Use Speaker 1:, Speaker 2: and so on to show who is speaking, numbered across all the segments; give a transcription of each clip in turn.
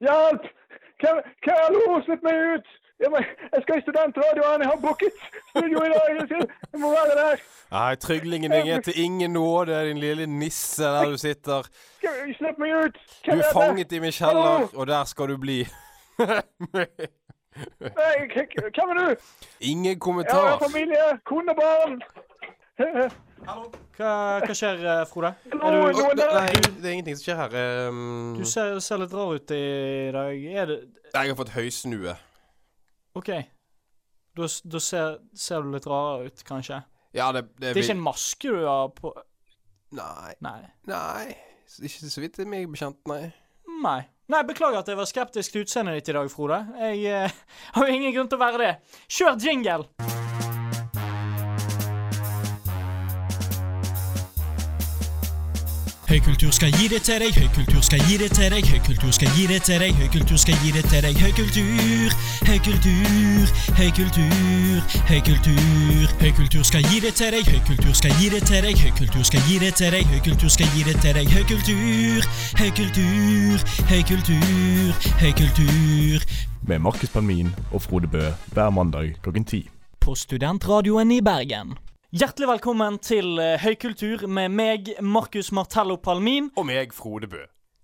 Speaker 1: Hjelp! Hvem hvem har loset meg ut? Jeg, må, jeg skal i studentradioen, jeg har booket studio i dag! Jeg, skal, jeg må være der!
Speaker 2: Nei, tryglingen din er til ingen nåde, din lille nisse der du sitter.
Speaker 1: Skal- Slipp meg ut!
Speaker 2: Du
Speaker 1: Hvem
Speaker 2: er
Speaker 1: det?
Speaker 2: fanget i min kjeller,
Speaker 1: Hallo?
Speaker 2: og der skal du bli.
Speaker 1: Nei, k- hvem er du?
Speaker 2: Ingen
Speaker 1: Jeg har
Speaker 2: kommentar.
Speaker 1: familie, kone, barn. Hallo,
Speaker 3: Hva, hva skjer, eh, Frode?
Speaker 2: Å,
Speaker 3: Er du,
Speaker 1: noen
Speaker 2: ne-
Speaker 1: der?
Speaker 2: Nei, det er ingenting som skjer her. Um,
Speaker 3: du ser, ser litt rar ut i dag. Er det
Speaker 2: jeg har fått høysnue.
Speaker 3: OK. Da s- da ser, ser du litt rarere ut, kanskje.
Speaker 2: Ja, det,
Speaker 3: Det er ikke en maske du har på
Speaker 2: Nei.
Speaker 3: Nei.
Speaker 2: Nei. S- Ikke så vidt jeg meg bekjent, nei.
Speaker 3: Nei. Nei, Beklager at jeg var skeptisk til utseendet ditt i dag, Frode. Jeg eh, har jo ingen grunn til å være det. Kjør jingle!
Speaker 4: Høykultur skal gi det til deg, høykultur skal gi det til deg, høykultur skal gi det til deg, høykultur skal gi det til deg, høykultur, høykultur, høykultur, høykultur. Høykultur skal gi det til deg, høykultur skal gi det til deg, høykultur skal gi det til deg, høykultur skal gi det til deg, høykultur, høykultur, høykultur, høykultur.
Speaker 5: Med Markus Palmin og Frode Bø hver mandag klokken ti.
Speaker 4: På Studentradioen i Bergen.
Speaker 3: Hjertelig velkommen til eh, Høykultur med meg, Markus Martello Palmin.
Speaker 2: Og meg, Frode Bø.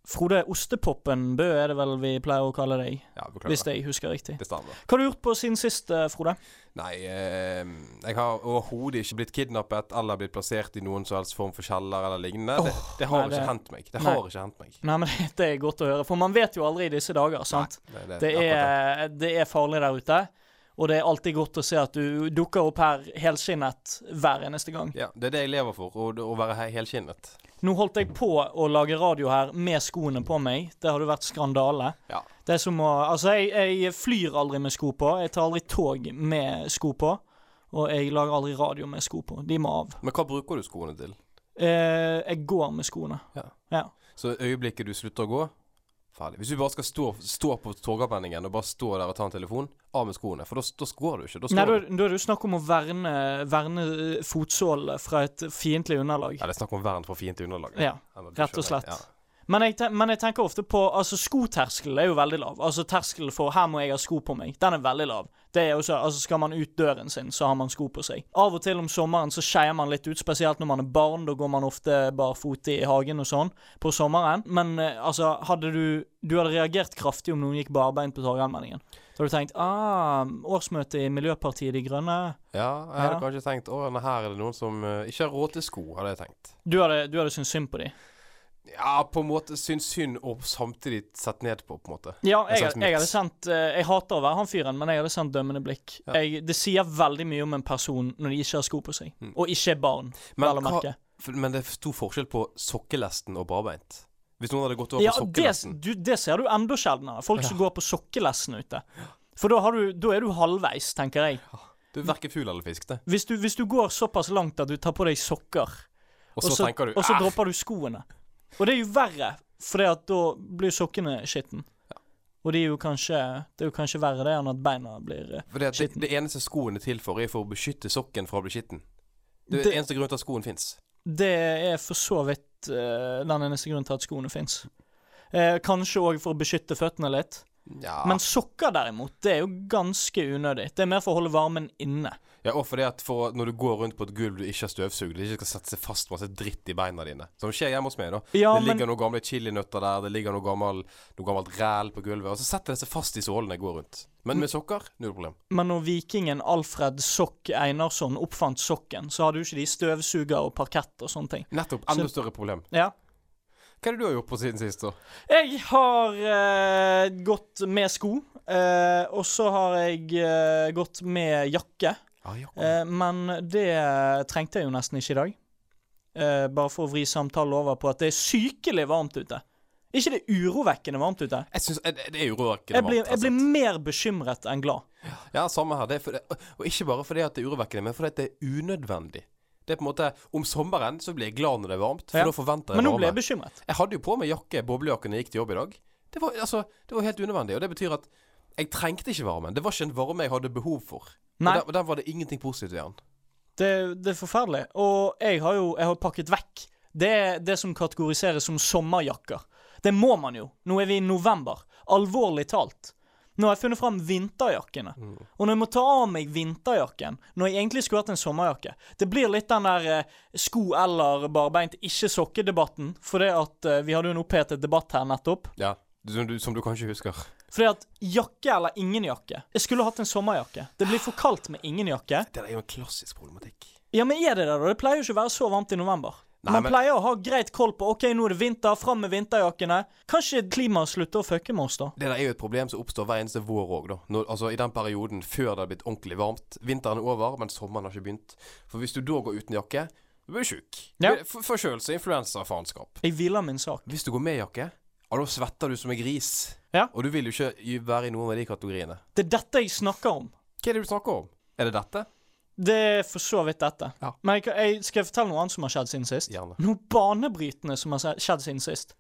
Speaker 3: Frode Ostepoppen Bø er det vel vi pleier å kalle deg,
Speaker 2: Ja,
Speaker 3: hvis
Speaker 2: beklager.
Speaker 3: jeg husker riktig.
Speaker 2: Det stemmer.
Speaker 3: Hva har du gjort på siden sist, eh, Frode?
Speaker 2: Nei, eh, jeg har overhodet ikke blitt kidnappet eller blitt plassert i noen som helst form for kjeller eller lignende. det, det har
Speaker 3: nei, det-
Speaker 2: ikke hendt meg. Det
Speaker 3: nei.
Speaker 2: har ikke hendt meg.
Speaker 3: Nei, men Det er godt å høre, for man vet jo aldri i disse dager, sant? Det er, eh, det er farlig der ute, og det er alltid godt å se at du dukker opp her helskinnet hver eneste gang.
Speaker 2: Ja, det er det jeg lever for. Å, å være he- helkinnet.
Speaker 3: Nå holdt jeg på å lage radio her med skoene på meg. Det hadde vært skandale.
Speaker 2: Ja.
Speaker 3: Det er som å Altså, jeg, jeg flyr aldri med sko på. Jeg tar aldri tog med sko på. Og jeg lager aldri radio med sko på. De må av.
Speaker 2: Men hva bruker du skoene til?
Speaker 3: Eh, jeg går med skoene.
Speaker 2: Så øyeblikket du slutter å gå Ferdig. Hvis du bare skal stå, stå på Torgallmenningen og bare stå der og ta en telefon, av med skoene. For da da skår du ikke. Da
Speaker 3: Nei,
Speaker 2: skår
Speaker 3: da
Speaker 2: du.
Speaker 3: da er det jo snakk om å verne, verne eh, fotsålene fra et fiendtlig underlag.
Speaker 2: Ja, det er snakk om vern for fiendtlig underlag.
Speaker 3: Ja,
Speaker 2: Eller, du
Speaker 3: rett og
Speaker 2: skjønner.
Speaker 3: slett. Men jeg, ten- men jeg tenker ofte på Altså, skoterskelen er jo veldig lav. Altså, terskelen for 'her må jeg ha sko på meg', den er veldig lav. Det er jo så, altså Skal man ut døren sin, så har man sko på seg. Av og til om sommeren så skeier man litt ut, spesielt når man er barn. Da går man ofte barfot i hagen og sånn på sommeren. Men eh, altså, hadde du Du hadde reagert kraftig om noen gikk barbeint på Torgallmenningen. Da hadde du tenkt ah, årsmøte i Miljøpartiet De Grønne.
Speaker 2: Ja. ja, jeg hadde
Speaker 3: Ja.
Speaker 2: kanskje tenkt å, nei, her er det noen som eh, ikke har råd til sko, hadde jeg tenkt.
Speaker 3: Du hadde, du hadde syntes synd på dem.
Speaker 2: Ja, på en måte syns synd, og samtidig sett ned på, på en måte.
Speaker 3: Ja,
Speaker 2: En
Speaker 3: jeg,
Speaker 2: slags
Speaker 3: jeg
Speaker 2: mix.
Speaker 3: hadde sendt eh, Jeg hater å være han fyren, men jeg hadde sendt dømmende blikk.
Speaker 2: Ja.
Speaker 3: Jeg, det sier veldig mye om en person når de ikke har sko på seg,
Speaker 2: Mm.
Speaker 3: og ikke er barn.
Speaker 2: Men,
Speaker 3: vel å
Speaker 2: hva-
Speaker 3: merke.
Speaker 2: f- men det er stor forskjell på sokkelesten og barbeint. Hvis noen hadde gått over
Speaker 3: Ja,
Speaker 2: på
Speaker 3: det,
Speaker 2: sokkelesten
Speaker 3: du, det ser du enda sjeldnere. Folk som går på sokkelesten ute. For da, har du, da er du halvveis, tenker jeg.
Speaker 2: Du er verken fugl eller fisk, det.
Speaker 3: Hvis du, hvis du går såpass langt at du tar på deg sokker,
Speaker 2: Og så, tenker du
Speaker 3: og så
Speaker 2: "Ah,
Speaker 3: dropper du skoene Og det er jo verre, for da blir sokkene skitten. Og de er jo kanskje, det er jo kanskje verre det enn at beina blir eh,
Speaker 2: For det, det,
Speaker 3: Skitten.
Speaker 2: det eneste skoen er til for, er for å beskytte sokken fra å bli skitten. Det er
Speaker 3: Det-
Speaker 2: eneste grunnen til at skoen fins.
Speaker 3: Det er for så vidt eh, den eneste grunnen til at skoene fins. Eh, kanskje òg for å beskytte føttene litt.
Speaker 2: Ja.
Speaker 3: Men sokker, derimot, det er jo ganske unødig. Det er mer for å holde varmen inne.
Speaker 2: ja, og fordi at for når du går rundt på et gulv du ikke har støvsugd, det ikke skal sette seg fast masse dritt i beina dine. Som skjer hjemme hos meg, da.
Speaker 3: Ja,
Speaker 2: det
Speaker 3: men
Speaker 2: ligger noen gamle chilinøtter der, det ligger noe, gammel, noe gammelt ræl på gulvet, og så setter det seg fast i sålene jeg går rundt. Men med sokker null problem.
Speaker 3: Men når vikingen Alfred Sokk Einarsson oppfant sokken, så hadde jo ikke de støvsuger og parkett og sånne ting.
Speaker 2: Nettopp. Enda større problem.
Speaker 3: Ja.
Speaker 2: Hva er det du har gjort på siden sist, da?
Speaker 3: Jeg har eh, gått med sko, eh, og så har jeg eh, gått med jakke.
Speaker 2: Ah, ja.
Speaker 3: Eh, men det trengte jeg jo nesten ikke i dag. Eh, bare for å vri samtalen over på at det er sykelig varmt ute. Ikke det urovekkende varmt ute.
Speaker 2: Jeg synes, eh, det det er urovekkende
Speaker 3: Jeg blir,
Speaker 2: varmt,
Speaker 3: jeg
Speaker 2: altså.
Speaker 3: blir mer bekymret enn glad.
Speaker 2: Ja, samme her. Det er for det, og ikke bare fordi at det er urovekkende, men fordi at det er unødvendig. Det er på en måte, Om sommeren så blir jeg glad når det er varmt, for
Speaker 3: Ja.
Speaker 2: da forventer jeg
Speaker 3: Men nå ble
Speaker 2: varme.
Speaker 3: jeg bekymret.
Speaker 2: Jeg hadde jo på meg jakke, boblejakke, når jeg gikk til jobb i dag. Det var, altså, det var helt unødvendig. Og det betyr at jeg trengte ikke varmen. Det var ikke en varme jeg hadde behov for. Og
Speaker 3: Nei.
Speaker 2: der, og der var det ingenting positivt ved den.
Speaker 3: Det, det er forferdelig. Og jeg har jo jeg har pakket vekk det, det som kategoriseres som sommerjakker. Det må man jo. Nå er vi i november. Alvorlig talt. Nå har jeg funnet fram vinterjakkene. Og når jeg må ta av meg vinterjakken, når jeg egentlig skulle hatt en sommerjakke Det blir litt den der eh, sko eller barbeint, ikke sokke-debatten. For det at eh, vi hadde jo en opphetet debatt her nettopp.
Speaker 2: Ja. Som du, som du kanskje husker.
Speaker 3: Fordi at jakke eller ingen jakke Jeg skulle hatt en sommerjakke. Det blir for kaldt med ingen jakke.
Speaker 2: Det er jo en klassisk problematikk.
Speaker 3: Ja, men er det det, da? Det pleier jo ikke å være så varmt i november.
Speaker 2: Nei,
Speaker 3: Man
Speaker 2: men-
Speaker 3: pleier å ha greit koll på OK, nå er det vinter, fram med vinterjakkene. Kanskje klimaet slutter å fucke med oss, da?
Speaker 2: Det der er jo et problem som oppstår hver eneste vår òg, da. Når, altså I den perioden før det har blitt ordentlig varmt. Vinteren er over, men sommeren har ikke begynt. For hvis du da går uten jakke, du blir du sjuk.
Speaker 3: Ja.
Speaker 2: Blir- for- Forkjølelse, influensa, faenskap.
Speaker 3: Jeg hviler min sak.
Speaker 2: Hvis du går med jakke, ja, da svetter du som en gris.
Speaker 3: Ja.
Speaker 2: Og du vil jo ikke i- være i noen av de kategoriene.
Speaker 3: Det er dette jeg snakker om.
Speaker 2: Hva er det du snakker om? Er det dette?
Speaker 3: Det er for så vidt dette.
Speaker 2: Ja.
Speaker 3: Men jeg, kan- jeg skal jeg fortelle noe annet som har skjedd siden sist.
Speaker 2: Gjerne.
Speaker 3: Noe banebrytende som har se- skjedd siden sist.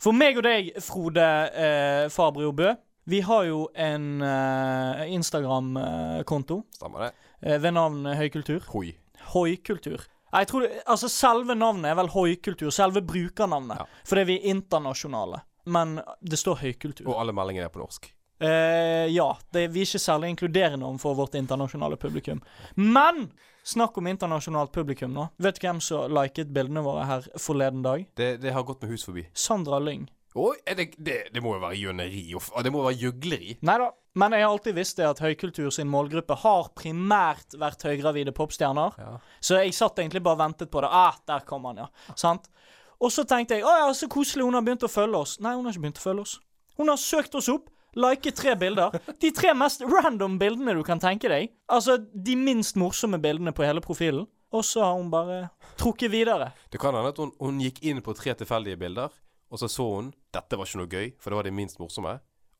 Speaker 3: For meg og deg, Frode eh, Fabrio Bø, vi har jo en eh, Instagram-konto
Speaker 2: Stemmer det?
Speaker 3: eh, ved navn Høykultur.
Speaker 2: Hoi.
Speaker 3: Hoikultur. Nei, Jeg tror det, altså Selve navnet er vel hoikultur. Selve brukernavnet.
Speaker 2: Ja.
Speaker 3: Fordi vi er internasjonale. Men det står høykultur.
Speaker 2: Og alle meldinger er på norsk.
Speaker 3: Eh, ja, det, vi er ikke særlig inkluderende overfor vårt internasjonale publikum. Men snakk om internasjonalt publikum nå. Vet du hvem som liket bildene våre her forleden dag?
Speaker 2: Det, det har gått med hus forbi.
Speaker 3: Sandra Lyng.
Speaker 2: Oi, er det, det, det må jo være gjøneri. og f- og Det må jo være gjøgleri.
Speaker 3: Nei da. Men jeg har alltid visst det at høykultur sin målgruppe har primært vært høygravide popstjerner.
Speaker 2: Ja.
Speaker 3: Så jeg satt egentlig bare og ventet på det. Ah, der kom han, ja. Sant? Og så tenkte jeg å ja, så koselig, hun har begynt å følge oss. Nei, hun har ikke begynt å følge oss. Hun har søkt oss opp, liket tre bilder. De tre mest random bildene du kan tenke deg. Altså de minst morsomme bildene på hele profilen. Og så har hun bare trukket videre.
Speaker 2: Det kan hende at hun, hun gikk inn på tre tilfeldige bilder, og så så hun dette var ikke noe gøy, for det var det minst morsomme,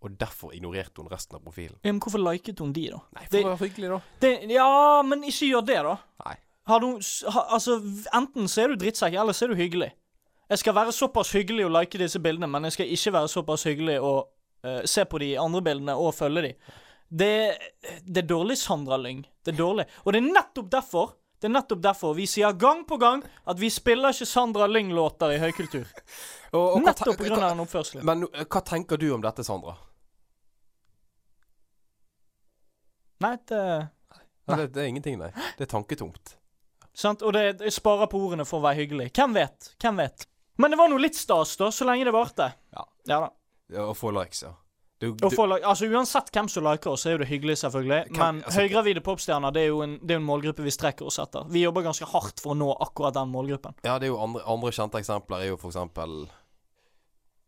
Speaker 2: og derfor ignorerte hun resten av profilen.
Speaker 3: Ja, men Hm, hvorfor liket hun de, da?
Speaker 2: Nei, for
Speaker 3: Det-
Speaker 2: det var hyggelig, da.
Speaker 3: Det, ja, men ikke gjør det, da.
Speaker 2: Nei.
Speaker 3: Har du s- ha, Altså, v- enten så er du drittsekk, eller så er du hyggelig. Jeg skal være såpass hyggelig og like disse bildene, men jeg skal ikke være såpass hyggelig og eh, se på de andre bildene og følge de. Det, det er dårlig, Sandra Lyng. Det er dårlig. Og det er nettopp derfor Det er nettopp derfor vi sier gang på gang at vi spiller ikke Sandra Lyng-låter i høykultur.
Speaker 2: Og, og hva
Speaker 3: Nettopp
Speaker 2: ten-
Speaker 3: pga.
Speaker 2: hva-
Speaker 3: den oppførselen.
Speaker 2: Men eh, hva tenker du om dette, Sandra?
Speaker 3: Nei, det
Speaker 2: Nei. Det, det er ingenting, nei. Det er tanketomt.
Speaker 3: Sant? Og det, jeg sparer på ordene for å være hyggelig. Hvem vet? Hvem vet? Men det var nå litt stas, da, så lenge det varte.
Speaker 2: Ja.
Speaker 3: ja da.
Speaker 2: Ja, Å få likes, ja. Det, er jo-
Speaker 3: Og
Speaker 2: det-
Speaker 3: for, like- altså Uansett hvem som liker oss, så er jo det hyggelig, selvfølgelig.
Speaker 2: Hvem-
Speaker 3: Men
Speaker 2: altså-
Speaker 3: høygravide popstjerner det er jo en, det er jo en målgruppe vi strekker oss etter. Vi jobber ganske hardt for å nå akkurat den målgruppen.
Speaker 2: ja, det er jo andre, andre kjente eksempler. er jo for eksempel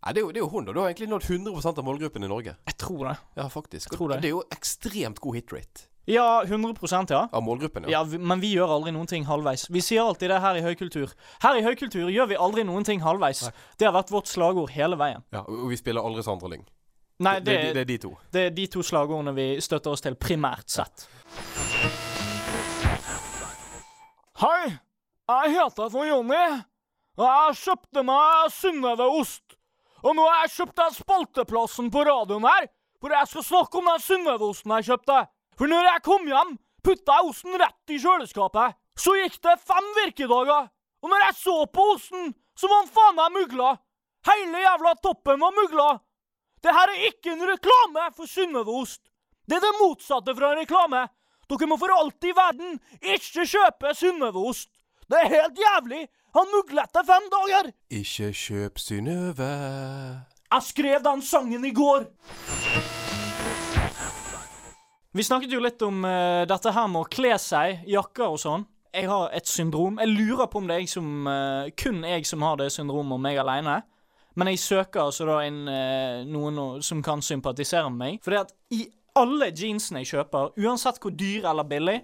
Speaker 2: Nei, det er jo, det er jo hun, da. Du har egentlig nådd 100 av målgruppen i Norge.
Speaker 3: Jeg tror det.
Speaker 2: Ja, faktisk.
Speaker 3: tror det.
Speaker 2: det er jo ekstremt god hitrate
Speaker 3: Ja, 100 ja.
Speaker 2: av målgruppen, ja.
Speaker 3: Ja, vi, Men vi gjør aldri noen ting halvveis. Vi sier alltid det her i høykultur. Her i høykultur gjør vi aldri noen ting halvveis. Det har vært vårt slagord hele veien.
Speaker 2: ja. Og og vi spiller aldri Sandra Lyng.
Speaker 3: Nei,
Speaker 2: Det, det, det er de to.
Speaker 3: Det er de to slagordene vi støtter oss til primært sett. Hei, jeg heter for Jonny, og jeg kjøpte meg Synnøve-ost. Og nå har jeg kjøpt den spalteplassen på radioen her, hvor jeg skal snakke om den Synnøve-osten jeg kjøpte. For når jeg kom hjem, putta jeg osten rett i kjøleskapet. Så gikk det fem virkedager, og når jeg så på osten, så var den faen meg mugla. Hele jævla toppen var mugla. Det her er ikke en reklame for Synnøveost. Det er det motsatte fra en reklame. Dere må for alt i verden ikke kjøpe Synnøveost. Det er helt jævlig. Han muglet det fem dager.
Speaker 2: Ikke kjøp Synnøve.
Speaker 3: Jeg skrev den sangen i går. Vi snakket jo litt om eh, dette her med å kle seg, jakker og sånn. Jeg har et syndrom. Jeg lurer på om det er jeg som, eh, kun jeg som har det syndromet, og meg aleine. Men jeg søker altså da en, eh, noen å- som kan sympatisere med meg. Fordi at i alle jeansene jeg kjøper, uansett hvor dyr eller billig,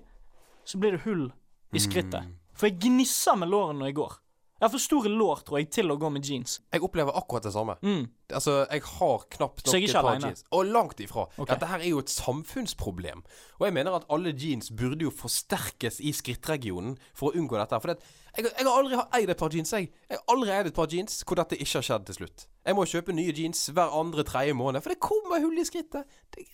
Speaker 3: så blir det hull i skrittet. For jeg gnisser med lårene når jeg går. Jeg har for store lår, tror jeg, til å gå med jeans.
Speaker 2: Jeg opplever akkurat det samme.
Speaker 3: Mm.
Speaker 2: Altså, jeg har knapt
Speaker 3: Så jeg er ikke
Speaker 2: et par
Speaker 3: alene?
Speaker 2: jeans. Og langt ifra.
Speaker 3: Ok.
Speaker 2: Dette her er jo et samfunnsproblem. Og jeg mener at alle jeans burde jo forsterkes i skrittregionen for å unngå dette. her. For det, at jeg, jeg har aldri ha- eid et par jeans, jeg. Jeg har aldri eid et par jeans hvor dette ikke har skjedd til slutt. Jeg må kjøpe nye jeans hver andre, tredje måned, for det kommer hull i skrittet. Det,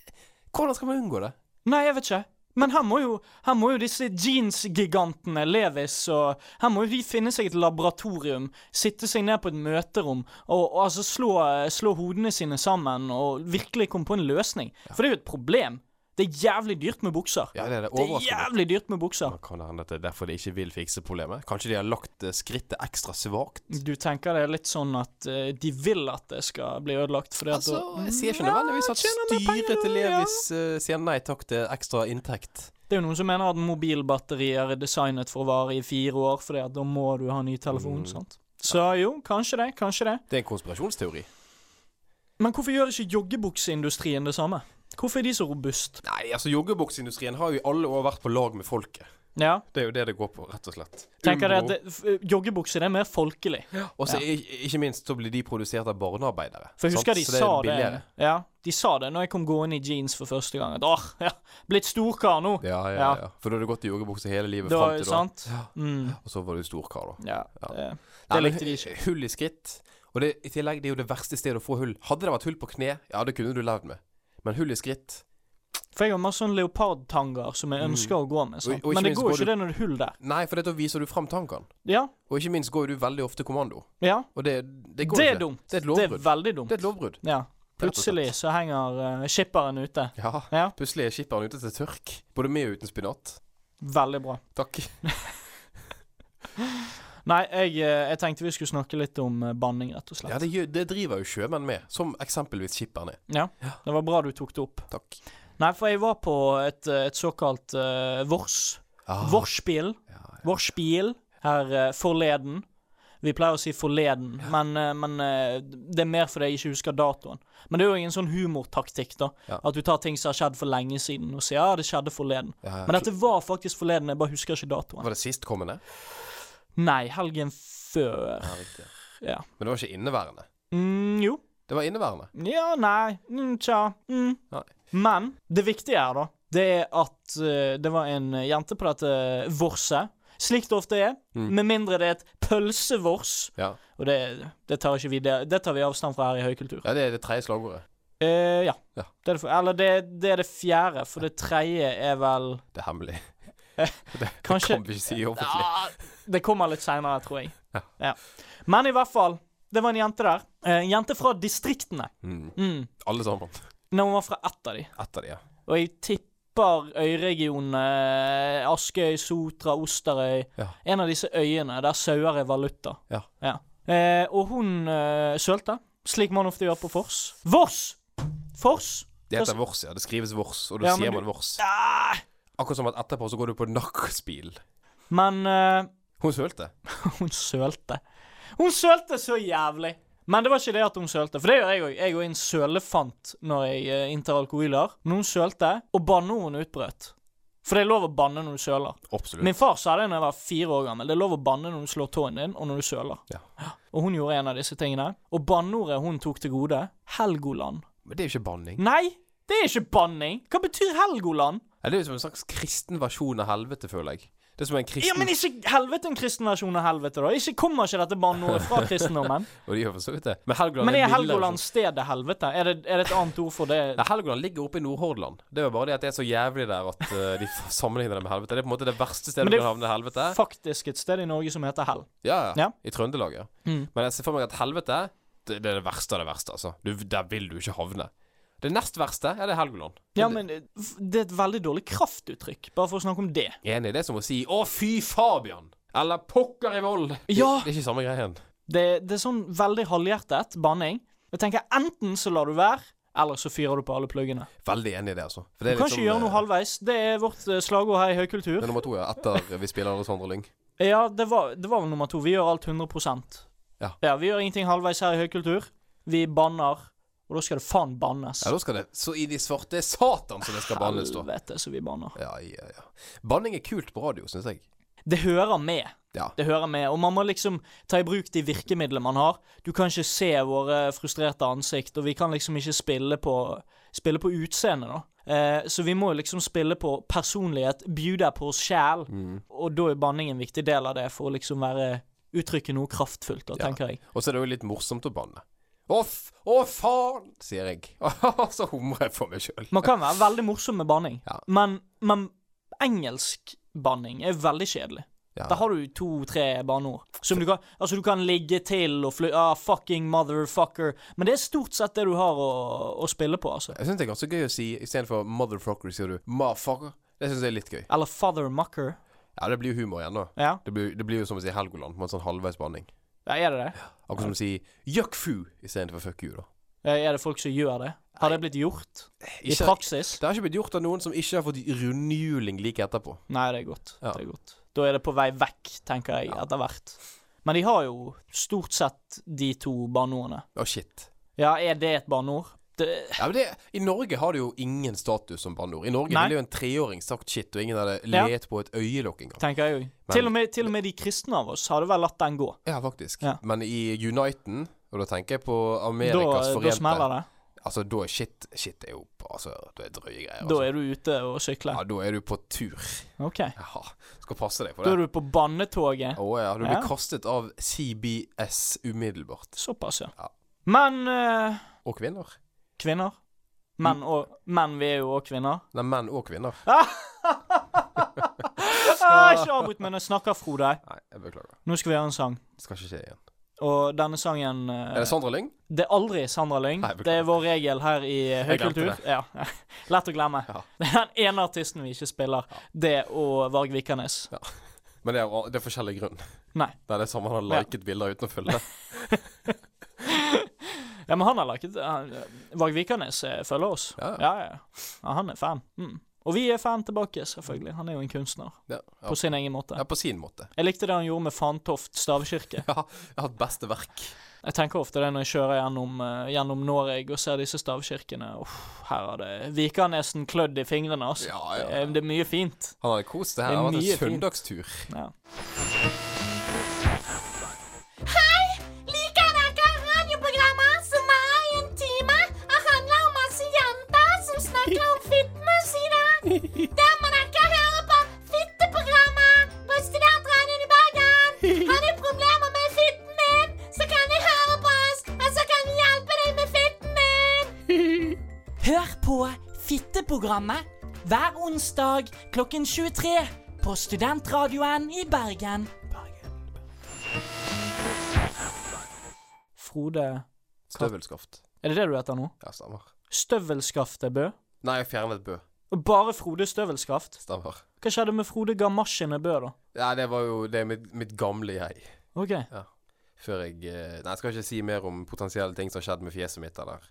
Speaker 2: hvordan skal man unngå det?
Speaker 3: Nei, jeg vet ikke. Men her må jo, her må jo disse jeansgigantene, Levis og Her må jo de finne seg et laboratorium, sitte seg ned på et møterom og, og altså slå, slå hodene sine sammen og virkelig komme på en løsning. For det er jo et problem. Det er jævlig dyrt med bukser.
Speaker 2: Ja, det er det.
Speaker 3: det er
Speaker 2: Overraskende.
Speaker 3: jævlig dyrt med bukser.
Speaker 2: Kan det hende at det er derfor de ikke vil fikse problemet? Kanskje de har lagt eh, skrittet ekstra svakt?
Speaker 3: Du tenker det er litt sånn at eh, de vil at det skal bli ødelagt, fordi at
Speaker 2: Altså,
Speaker 3: da-
Speaker 2: jeg sier ikke nødvendigvis at
Speaker 3: tjener mer penger,
Speaker 2: styret til
Speaker 3: ja.
Speaker 2: Levis eh, sier nei takk til ekstra inntekt.
Speaker 3: Det er jo noen som mener at mobilbatterier er designet for å vare i fire år, fordi at da må du ha ny
Speaker 2: Mm.
Speaker 3: telefon, sant. Så jo, kanskje det, kanskje det.
Speaker 2: Det er en konspirasjonsteori.
Speaker 3: Men hvorfor gjør ikke joggebukseindustrien det samme? Hvorfor er de så robust?
Speaker 2: Nei, altså joggebukseindustrien har jo i alle år vært på lag med folket.
Speaker 3: Ja,
Speaker 2: Det er jo det det går på, rett og slett.
Speaker 3: tenker jeg at
Speaker 2: Umbro.
Speaker 3: det, f- joggebukser det er mer folkelig.
Speaker 2: Og så ik- ikke minst så blir de produsert av barnearbeidere.
Speaker 3: For jeg
Speaker 2: sant?
Speaker 3: husker de
Speaker 2: Så det er
Speaker 3: sa det,
Speaker 2: billigere.
Speaker 3: Ja, de sa det når jeg kom gående i jeans for første gang. At åh, ja, blitt storkar nå.
Speaker 2: Ja, ja, ja,
Speaker 3: Ja.
Speaker 2: For da har du gått i joggebukse hele livet
Speaker 3: Da,
Speaker 2: fram til da.
Speaker 3: sant? Mm,
Speaker 2: Og så var du storkar, da.
Speaker 3: ja,
Speaker 2: Ja. Nei,
Speaker 3: det, det
Speaker 2: men
Speaker 3: likte de ikke.
Speaker 2: hu- Hull i skritt. Og det, i tillegg, det er jo det verste stedet å få hull. Hadde det vært hull på kne, ja, det kunne du levd med. Men hull i skritt
Speaker 3: For jeg har masse sånne leopardtanger som jeg ønsker å gå med. Sant?
Speaker 2: Mm. Og- og ikke
Speaker 3: Men det
Speaker 2: minst
Speaker 3: går
Speaker 2: går
Speaker 3: jo ikke
Speaker 2: du-
Speaker 3: det når det er hull der.
Speaker 2: Nei, for det, da viser du fram tankene.
Speaker 3: Ja,
Speaker 2: Og ikke minst går jo du veldig ofte kommando.
Speaker 3: ja.
Speaker 2: Og det, det går ikke.
Speaker 3: Det er dumt.
Speaker 2: Det er et
Speaker 3: Det er
Speaker 2: lovbrudd.
Speaker 3: veldig
Speaker 2: Det
Speaker 3: dumt.
Speaker 2: er et lovbrudd.
Speaker 3: Ja. Plutselig
Speaker 2: slett.
Speaker 3: så henger eh, skipperen ute.
Speaker 2: Ja.
Speaker 3: Ja.
Speaker 2: Plutselig er skipperen ute til tørk. Både med og uten spinat.
Speaker 3: Veldig bra.
Speaker 2: Takk.
Speaker 3: Nei, jeg, eh, jeg tenkte vi skulle snakke litt om eh, banning, rett og slett.
Speaker 2: Ja, det, gjør- det driver jo sjømenn med. Som eksempelvis skipperen er.
Speaker 3: Ja, det var bra du tok det opp.
Speaker 2: Takk.
Speaker 3: Nei, for jeg var på et, eh, et såkalt uh, vors.
Speaker 2: Ah,
Speaker 3: Vorspiel.
Speaker 2: Ja, ja.
Speaker 3: Vorspiel her eh, forleden. Vi pleier å si forleden, men, eh, men eh, det er mer fordi jeg ikke husker datoen. Men det er jo en sånn humortaktikk, da.
Speaker 2: Ja.
Speaker 3: At du tar ting som har skjedd for lenge siden, og sier ja, det skjedde forleden.
Speaker 2: Ja, ja.
Speaker 3: Men dette var faktisk forleden, jeg bare husker ikke datoen.
Speaker 2: Var det sistkommende?
Speaker 3: Nei, helgen før
Speaker 2: Ja, riktig.
Speaker 3: Ja.
Speaker 2: Men det var ikke inneværende.
Speaker 3: mm, Jo.
Speaker 2: Det var inneværende.
Speaker 3: Ja, nei, mm, tja. Mm.
Speaker 2: Nei.
Speaker 3: Men det viktige her, da, det er at eh, det var en jente på dette vorset. Slik det ofte er,
Speaker 2: Mm.
Speaker 3: med mindre det er et pølsevors.
Speaker 2: Ja,
Speaker 3: Og det, det tar ikke vi det, det tar vi avstand fra her i høykultur.
Speaker 2: ja det er det tredje slagordet.
Speaker 3: Eh, ja.
Speaker 2: Ja.
Speaker 3: Det er det, for- eller det, det er det fjerde, for det tredje er vel
Speaker 2: Det er hemmelig.
Speaker 3: Eh, Kanskje
Speaker 2: Kan vi ikke si offentlig.
Speaker 3: Ah, Det kommer litt seinere, tror jeg.
Speaker 2: Ja.
Speaker 3: Ja. Men i hvert fall, det var en jente der. Eh, En jente fra distriktene.
Speaker 2: Mm.
Speaker 3: Mm.
Speaker 2: Alle sammen.
Speaker 3: Når hun var fra ett av de.
Speaker 2: Etter de, ja.
Speaker 3: Og jeg tipper øyregionene eh, Askøy, Sotra, Osterøy
Speaker 2: Ja.
Speaker 3: En av disse øyene der sauer er valuta.
Speaker 2: Ja.
Speaker 3: Eh, og hun eh, sølte, slik man ofte gjør på Fors. Vors! Fors.
Speaker 2: Det heter vors, ja. Det skrives vors, og da
Speaker 3: Ja, men
Speaker 2: sier
Speaker 3: du-
Speaker 2: man vors.
Speaker 3: Ah!
Speaker 2: Akkurat som at etterpå så går du på nachspiel.
Speaker 3: Men eh,
Speaker 2: Hun sølte.
Speaker 3: hun sølte. Hun sølte så jævlig! Men det var ikke det at hun sølte, for det gjør jeg òg. Jeg er jo en sølefant når jeg eh, inntar alkoholer. Men hun sølte, og banneorden utbrøt. For det er lov å banne når du søler.
Speaker 2: Absolutt.
Speaker 3: Min far sa det da jeg var fire år gammel. Det er lov å banne når du slår tåen din, og når du søler.
Speaker 2: Ja.
Speaker 3: Og hun gjorde en av disse tingene. Og banneordet hun tok til gode, Helgoland.
Speaker 2: Men det er jo ikke banning.
Speaker 3: Nei, det er ikke banning! Hva betyr Helgoland?
Speaker 2: Ja, det er jo som en slags kristen versjon av helvete, føler jeg. Det er som en kristen
Speaker 3: Ja, men ikke helvete en kristen versjon av helvete, da. Ikke kommer ikke dette banneordet fra kristendommen.
Speaker 2: Og de gjør for så vidt det. Men Helgoland
Speaker 3: Men er
Speaker 2: mildere
Speaker 3: Helgoland stedet helvete? Er det, er det et annet ord for det?
Speaker 2: Nei, Helgoland ligger oppe i Nordhordland. Det er jo bare det at det er så jævlig der at eh, de f- sammenligner det med helvete. Det er på en måte det verste stedet
Speaker 3: Men
Speaker 2: du
Speaker 3: det er
Speaker 2: kan havne i helvete.
Speaker 3: Faktisk et sted i Norge som heter Hell.
Speaker 2: Ja, ja.
Speaker 3: Ja. Mm.
Speaker 2: I Trøndelag, ja. Men jeg ser for meg at helvete, det, det er det verste av det verste, altså. Du, der vil du ikke havne. Det nest verste, ja, det er Helgoland.
Speaker 3: Ja, men eh, f- det er et veldig dårlig kraftuttrykk, bare for å snakke om det.
Speaker 2: Enig, det er som å si 'Å, fy Fabian'. Eller 'Pokker i vold'.
Speaker 3: Ja.
Speaker 2: Det, det er ikke samme greien.
Speaker 3: Det, det er sånn veldig halvhjertet banning. Jeg tenker Enten så lar du være, eller så fyrer du på alle pluggene.
Speaker 2: Veldig enig i det, altså. For det
Speaker 3: Du kan ikke gjøre noe
Speaker 2: halv...
Speaker 3: halvveis. Det er vårt eh, slagord her i
Speaker 2: Det
Speaker 3: Høykultur.
Speaker 2: er nummer to, ja. Etter vi spiller Alexander Lyng.
Speaker 3: Ja, det var, det var vel nummer to. Vi gjør alt 100
Speaker 2: Ja.
Speaker 3: Vi gjør ingenting halvveis her i Høykultur. Vi banner, og da skal det faen bannes.
Speaker 2: Ja, da skal det Så i de svarte satan som det skal bannes, da.
Speaker 3: Helvete, så vi banner.
Speaker 2: Ja, ja, ja. Banning er kult på radio, syns jeg.
Speaker 3: Det hører med.
Speaker 2: Ja.
Speaker 3: Det hører med, og man må liksom ta i bruk de virkemidlene man har. Du kan ikke se våre frustrerte ansikt, og vi kan liksom ikke spille på, spille på utseendet, da. Eh, så vi må jo liksom spille på personlighet, bjude på oss sjæl,
Speaker 2: Mm.
Speaker 3: og da er banning en viktig del av det for å liksom være uttrykke noe kraftfullt, da, tenker jeg.
Speaker 2: Og så er det jo litt morsomt å banne. Å, f å faen, sier jeg. Og så humrer jeg for meg sjøl.
Speaker 3: Man kan være veldig morsom med banning,
Speaker 2: Ja.
Speaker 3: men, men Engelskbanning er veldig kjedelig.
Speaker 2: Ja.
Speaker 3: Der har du to-tre banneord. Som du kan Altså, du kan ligge til og fly ah, Fucking motherfucker. Men det er stort sett det du har å, å spille på, altså.
Speaker 2: Jeg syns det er ganske gøy å si istedenfor motherfucker, sier du motherfucker. Det syns jeg er litt gøy.
Speaker 3: Eller fathermucker.
Speaker 2: Ja, det blir jo humor igjen, da.
Speaker 3: Ja.
Speaker 2: Det blir, det blir jo som å si Helgoland, på en sånn halvveis banning.
Speaker 3: ja, er det det?
Speaker 2: Akkurat som å si jøkkfu istedenfor fuck you, da.
Speaker 3: Ja, Er det folk som gjør det? Har det blitt gjort? I
Speaker 2: Ikke-
Speaker 3: praksis?
Speaker 2: Det har ikke blitt gjort av noen som ikke har fått rundhjuling like etterpå.
Speaker 3: Nei, det er godt.
Speaker 2: Ja.
Speaker 3: Det er godt. Da er det på vei vekk, tenker jeg, etter hvert. Men de har jo stort sett de to banneordene.
Speaker 2: Å, shit.
Speaker 3: Ja, er det et banneord? Det,
Speaker 2: Ja, men det, I Norge har det jo ingen status som banneord. I Norge
Speaker 3: Nei.
Speaker 2: ville jo en treåring sagt shit, og ingen hadde
Speaker 3: Ja.
Speaker 2: let på et øyelokk engang.
Speaker 3: tenker jeg jo. Til og, med, til og med de kristne av oss hadde vel latt den gå.
Speaker 2: Ja, faktisk.
Speaker 3: Ja.
Speaker 2: Men i Uniten, og da tenker jeg på
Speaker 3: Da,
Speaker 2: Amerikas
Speaker 3: da
Speaker 2: forente
Speaker 3: smeller det.
Speaker 2: Altså, da er shit Shit er jo Altså, da er drøye greier.
Speaker 3: Da
Speaker 2: Altså.
Speaker 3: er du ute og sykler.
Speaker 2: Ja, da er du på tur.
Speaker 3: OK.
Speaker 2: Jaha. Skal passe deg for
Speaker 3: Da
Speaker 2: det.
Speaker 3: er du på bannetoget.
Speaker 2: Å ja. Du blir
Speaker 3: Ja.
Speaker 2: kastet av CBS umiddelbart.
Speaker 3: Såpass, ja.
Speaker 2: Ja.
Speaker 3: Men eh,
Speaker 2: Og kvinner.
Speaker 3: kvinner. Menn
Speaker 2: Mm.
Speaker 3: og Menn, vi er jo òg kvinner.
Speaker 2: Nei, menn og kvinner.
Speaker 3: Ah, ikke avbryt meg når jeg snakker, Frode.
Speaker 2: Nei, jeg beklager.
Speaker 3: Nå skal vi gjøre en sang.
Speaker 2: Det skal ikke skje igjen.
Speaker 3: Og denne sangen eh,
Speaker 2: Er det Sandra Lyng?
Speaker 3: Det er aldri Sandra Lyng.
Speaker 2: Nei, beklager.
Speaker 3: Det er vår regel her i eh,
Speaker 2: Jeg glemte
Speaker 3: Høykultur.
Speaker 2: det.
Speaker 3: Ja. Lett å glemme.
Speaker 2: Ja.
Speaker 3: Det er den ene artisten vi ikke spiller. Det og Varg Vikernes.
Speaker 2: Men det er, det er forskjellig grunn.
Speaker 3: Nei.
Speaker 2: Det er det samme han har liket bilder uten å følge.
Speaker 3: Ja, men han har laget eh, han- Varg Vikernes eh, følger oss.
Speaker 2: Ja.
Speaker 3: ja. ja. ja han er fan. Mm. Og vi er fan tilbake, selvfølgelig. Han er jo en kunstner.
Speaker 2: Ja, ja.
Speaker 3: På sin egen måte.
Speaker 2: ja, på sin måte.
Speaker 3: Jeg likte det han gjorde med Fantoft stavkirke.
Speaker 2: Ja, jeg har hatt beste verk.
Speaker 3: Jeg tenker ofte det når jeg kjører gjennom, eh, gjennom Norge og ser disse stavkirkene. Uff, her har det Vikernesen klødd i fingrene, altså.
Speaker 2: Ja, ja,
Speaker 3: Det er- Det er mye fint.
Speaker 2: Han hadde kost det
Speaker 3: Det
Speaker 2: her.
Speaker 3: er
Speaker 2: Det har vært
Speaker 3: mye
Speaker 2: en
Speaker 3: fint.
Speaker 2: søndagstur.
Speaker 3: Ja.
Speaker 6: Liker dere radioprogrammer som er i en time og handler om masse jenter som snakker om fitness i dag? Da må dere høre på Fitteprogrammet på Studentradioen i Bergen. Har du problemer med fitten din, så kan du høre på oss, og så kan vi hjelpe deg med fitten din.
Speaker 7: Hør på Fitteprogrammet hver onsdag klokken 23 på Studentradioen i Bergen.
Speaker 3: Frode
Speaker 2: Støvelskaft.
Speaker 3: Er det det du heter nå?
Speaker 2: Ja, stemmer.
Speaker 3: Støvelskaftet Bø?
Speaker 2: Nei, jeg fjernet Bø.
Speaker 3: Og bare Frode Støvelskaft?
Speaker 2: Stemmer.
Speaker 3: Hva skjedde med Frode Gamasjene Bø, da?
Speaker 2: Ja, det var jo det er mitt, mitt gamle jeg.
Speaker 3: OK.
Speaker 2: Før jeg eh, Nei, jeg skal ikke si mer om potensielle ting som har skjedd med fjeset mitt, eller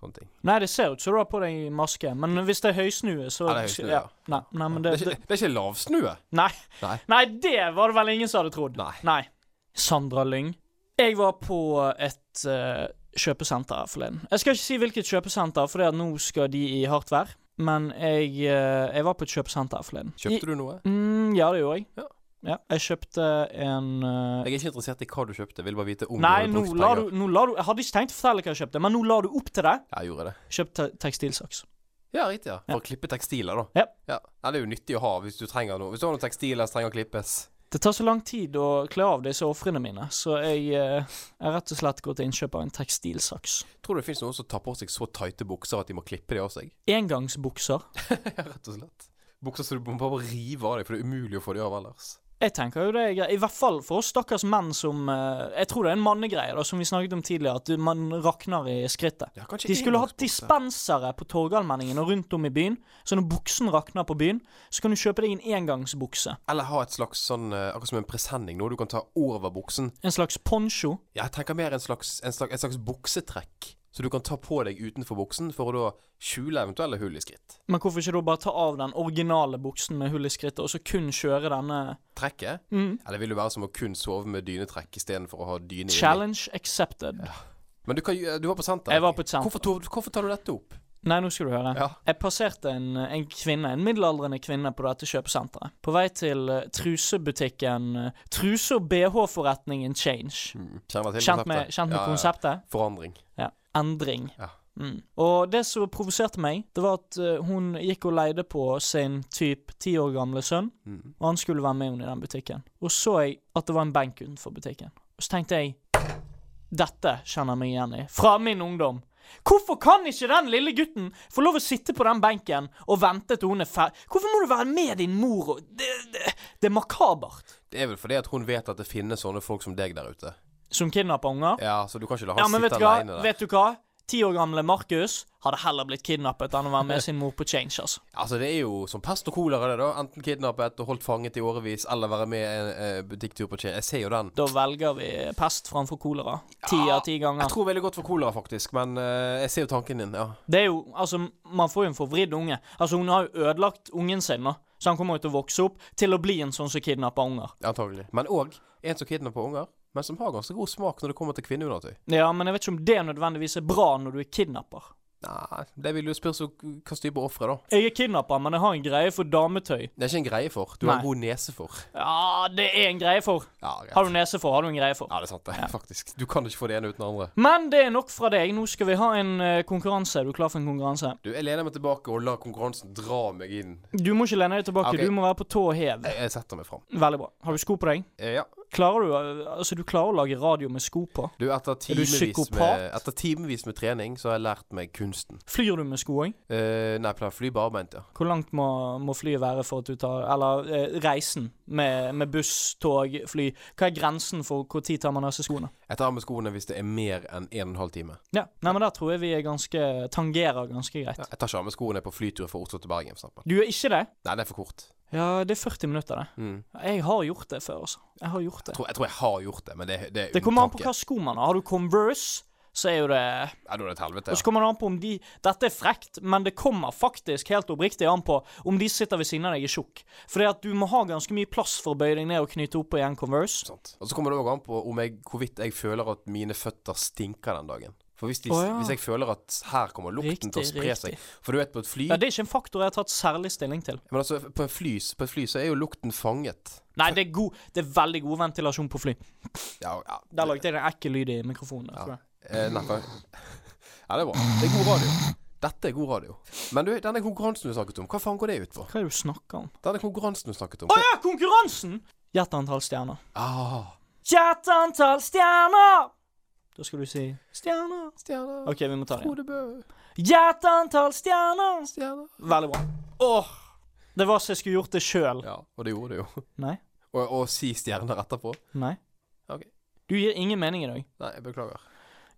Speaker 2: sånne ting.
Speaker 3: Nei, det ser ut som du har på deg maske, men hvis det er høysnue, så
Speaker 2: Ja, det er høysnue, ja.
Speaker 3: Nei, nei, men
Speaker 2: Det
Speaker 3: det,
Speaker 2: er
Speaker 3: det
Speaker 2: ikke, det er ikke lavsnue.
Speaker 3: Nei.
Speaker 2: Nei.
Speaker 3: Nei, det var det vel ingen som hadde trodd.
Speaker 2: Nei.
Speaker 3: Sandra Lyng. Jeg var på et eh, kjøpesenter her forleden. Jeg skal ikke si hvilket kjøpesenter, for det at nå skal de i hardt vær. Men jeg, eh, jeg var på et kjøpesenter her forleden. I,
Speaker 2: Kjøpte du noe?
Speaker 3: mm, ja, det gjorde jeg.
Speaker 2: Ja.
Speaker 3: Ja, jeg kjøpte en eh,
Speaker 2: Jeg er ikke interessert i hva du kjøpte. Jeg vil bare vite om
Speaker 3: Nei,
Speaker 2: du hadde
Speaker 3: nå
Speaker 2: brukt
Speaker 3: la,
Speaker 2: penger.
Speaker 3: du, nå la du Jeg hadde ikke tenkt å fortelle hva jeg kjøpte, men nå la du opp til det.
Speaker 2: Ja, jeg gjorde det.
Speaker 3: Kjøpte tekstilsaks.
Speaker 2: Ja, riktig. ja. For å klippe tekstiler, da.
Speaker 3: Ja.
Speaker 2: Nei, det er jo nyttig å ha hvis du trenger noe. Hvis du har noen tekstiler som trenger å klippes.
Speaker 3: Det tar så lang tid å kle av disse ofrene mine, så jeg eh, jeg har rett og slett gått til innkjøp av en tekstilsaks.
Speaker 2: Tror du det fins noen som tar på seg så tighte bukser at de må klippe de av seg?
Speaker 3: Engangsbukser.
Speaker 2: Ja, rett og slett. Bukser som du må bare rive av deg, for det er umulig å få de av ellers.
Speaker 3: Jeg tenker jo det er greit. I hvert fall for oss stakkars menn som eh, Jeg tror det er en mannegreie, da, som vi snakket om tidligere, at du- man rakner i skrittet.
Speaker 2: Ja, kanskje
Speaker 3: De skulle hatt
Speaker 2: engangsbukser.
Speaker 3: dispensere på Torgallmenningen og rundt om i byen, så når buksen rakner på byen, så kan du kjøpe deg en engangsbukse.
Speaker 2: Eller ha et slags sånn eh, Akkurat som en presenning, noe du kan ta over buksen.
Speaker 3: En slags poncho.
Speaker 2: Ja, Jeg tenker mer en slags, en slags, en slags buksetrekk. Så du kan ta på deg utenfor buksen for å da skjule eventuelle hull i skritt.
Speaker 3: Men hvorfor ikke da bare ta av den originale buksen med hull i skrittet, og så kun kjøre denne
Speaker 2: Trekket?
Speaker 3: Mm.
Speaker 2: Ja, det vil jo være som å kun sove med dynetrekk istedenfor å ha dyne inni.
Speaker 3: Challenge accepted.
Speaker 2: Men du, kan, jo- du var på senter.
Speaker 3: Jeg var på et senter.
Speaker 2: Hvorfor, tar- hvorfor tar du dette opp?
Speaker 3: Nei, nå skal du høre.
Speaker 2: Ja.
Speaker 3: Jeg passerte en, en kvinne, en middelaldrende kvinne på dette kjøpesenteret. På vei til eh, trusebutikken eh, Truse- og bh-forretningen Change.
Speaker 2: Kjenner til
Speaker 3: Kjent med, kjent med
Speaker 2: Ja, ja, ja.
Speaker 3: konseptet?
Speaker 2: Forandring.
Speaker 3: Ja. Endring.
Speaker 2: Ja.
Speaker 3: Mm. Og det som provoserte meg, det var at eh, hun gikk og leide på sin typ ti år gamle sønn, og han skulle være med henne i den butikken. Og så jeg at det var en benk utenfor butikken. Og så tenkte jeg dette kjenner jeg meg igjen i. Fra min ungdom. Hvorfor kan ikke den lille gutten få lov å sitte på den benken og vente til hun er ferdig? Hvorfor må du være med din mor og Det, det, det er makabert.
Speaker 2: Det er vel fordi at hun vet at det finnes sånne folk som deg der ute.
Speaker 3: Som kidnapper unger?
Speaker 2: Ja, så du kan ikke la
Speaker 3: Ja,
Speaker 2: han
Speaker 3: men vet
Speaker 2: sitte
Speaker 3: du hva?
Speaker 2: alene der.
Speaker 3: Vet du hva? Ti år gamle Markus hadde heller blitt kidnappet enn å være med sin mor på change, altså.
Speaker 2: Altså, det er jo som pest og kolera, det, da. Enten kidnappet og holdt fanget i årevis, eller være med en eh, butikktur på Che. Jeg ser jo den.
Speaker 3: Da velger vi pest framfor kolera. Ti av ti
Speaker 2: Jeg
Speaker 3: ganger.
Speaker 2: tror veldig godt for kolera, faktisk, men eh, jeg ser jo tanken din, ja.
Speaker 3: Det er jo Altså, man får jo en forvridd unge. Altså, hun har jo ødelagt ungen sin nå, så han kommer jo til å vokse opp til å bli en sånn som kidnapper unger.
Speaker 2: Antagelig. Men òg en som kidnapper unger, men som har ganske god smak når det kommer til kvinneundertøy.
Speaker 3: Ja, men jeg vet ikke om det nødvendigvis er bra når du er kidnapper.
Speaker 2: Nei, det vil jo spørres om hva slags type ofre, da.
Speaker 3: Jeg er kidnapper, men jeg har en greie for dametøy.
Speaker 2: Det er ikke en greie for. Du har
Speaker 3: Nei.
Speaker 2: en god nese for.
Speaker 3: Ja, det er en greie for.
Speaker 2: Ja, greit.
Speaker 3: Har du nese for, har du en greie for.
Speaker 2: Ja, det er sant, det. Faktisk. Du kan ikke få det ene uten det andre.
Speaker 3: Men det er nok fra deg. Nå skal vi ha en eh, konkurranse. Er du klar for en konkurranse?
Speaker 2: Du, jeg lener meg tilbake og lar konkurransen dra meg inn.
Speaker 3: Du må ikke lene deg tilbake.
Speaker 2: Ok.
Speaker 3: Du må være på tå hev.
Speaker 2: Jeg, jeg setter meg fram.
Speaker 3: Veldig bra. Har du sko på deg?
Speaker 2: Eh, ja.
Speaker 3: Klarer du eh, Altså, du klarer å lage radio med sko på.
Speaker 2: Du, etter timevis, med,
Speaker 3: psykopat?
Speaker 2: etter timevis med trening, så har jeg lært meg kunsten.
Speaker 3: Flyr du med sko òg?
Speaker 2: Eh, nei, jeg pleier å fly barbeint, ja.
Speaker 3: Hvor langt må, må flyet være for at du tar Eller eh, reisen med, med buss, tog, fly. Hva er grensen for hvor tid tar man av seg skoene?
Speaker 2: Jeg tar av meg skoene hvis det er mer enn 1 12 time.
Speaker 3: Ja. Nei, men der tror jeg vi er ganske Tangerer ganske greit.
Speaker 2: Ja, jeg tar ikke av meg skoene på flytur fra Oslo til Bergen, for eksempel.
Speaker 3: Du gjør ikke det?
Speaker 2: Nei, det er for kort.
Speaker 3: Ja, det er 40 minutter, det.
Speaker 2: Mm.
Speaker 3: Jeg har gjort det før, altså. Jeg har gjort
Speaker 2: Jeg,
Speaker 3: det.
Speaker 2: tror, jeg tror jeg har gjort det, men det, det er
Speaker 3: Det kommer an på hva
Speaker 2: unntaket.
Speaker 3: sko man har. Har du Converse, så er jo det
Speaker 2: Ja, da er det et helvete.
Speaker 3: Og så kommer det an på om de Dette er frekt, men det kommer faktisk helt oppriktig an på om de sitter ved siden av deg i tjukk. Fordi at du må ha ganske mye plass for å bøye deg ned og knyte opp igjen Converse.
Speaker 2: Sant. Og så kommer det òg an på om jeg, hvorvidt jeg føler at mine føtter stinker den dagen. For hvis, de,
Speaker 3: Å, ja.
Speaker 2: hvis jeg føler at her kommer lukten til å
Speaker 3: Riktig,
Speaker 2: spre
Speaker 3: riktig.
Speaker 2: seg For du vet, på et fly
Speaker 3: Ja, det er ikke en faktor jeg har tatt særlig stilling til.
Speaker 2: Men altså, på, en fly på et fly så er jo lukten fanget.
Speaker 3: Nei, det er, god, det er veldig god ventilasjon på fly.
Speaker 2: Ja, ja.
Speaker 3: Der lagde jeg en ekkel lyd i mikrofonen. tror jeg.
Speaker 2: Eh, nei, for- ja, det er bra. Det er god radio. Dette er god radio. Men du, denne konkurransen du snakket om, hva faen går det ut på?
Speaker 3: Hva er det du snakker om?
Speaker 2: Denne konkurransen du snakket om
Speaker 3: Å
Speaker 2: hva-
Speaker 3: ja, konkurransen! Hjerteantall stjerner.
Speaker 2: ah,
Speaker 3: Hjerteantall stjerner! Da skal du si stjerner.
Speaker 2: Stjerner,
Speaker 3: OK, vi må ta det igjen.
Speaker 2: Frode Bø,
Speaker 3: Hjerteantall stjerner.
Speaker 2: stjerner
Speaker 3: Veldig bra. Åh, det var så jeg skulle gjort det sjøl.
Speaker 2: Ja, og det gjorde du jo.
Speaker 3: Nei.
Speaker 2: Og, og si stjerner etterpå.
Speaker 3: Nei.
Speaker 2: Ok.
Speaker 3: Du gir ingen mening i dag.
Speaker 2: Nei, jeg beklager.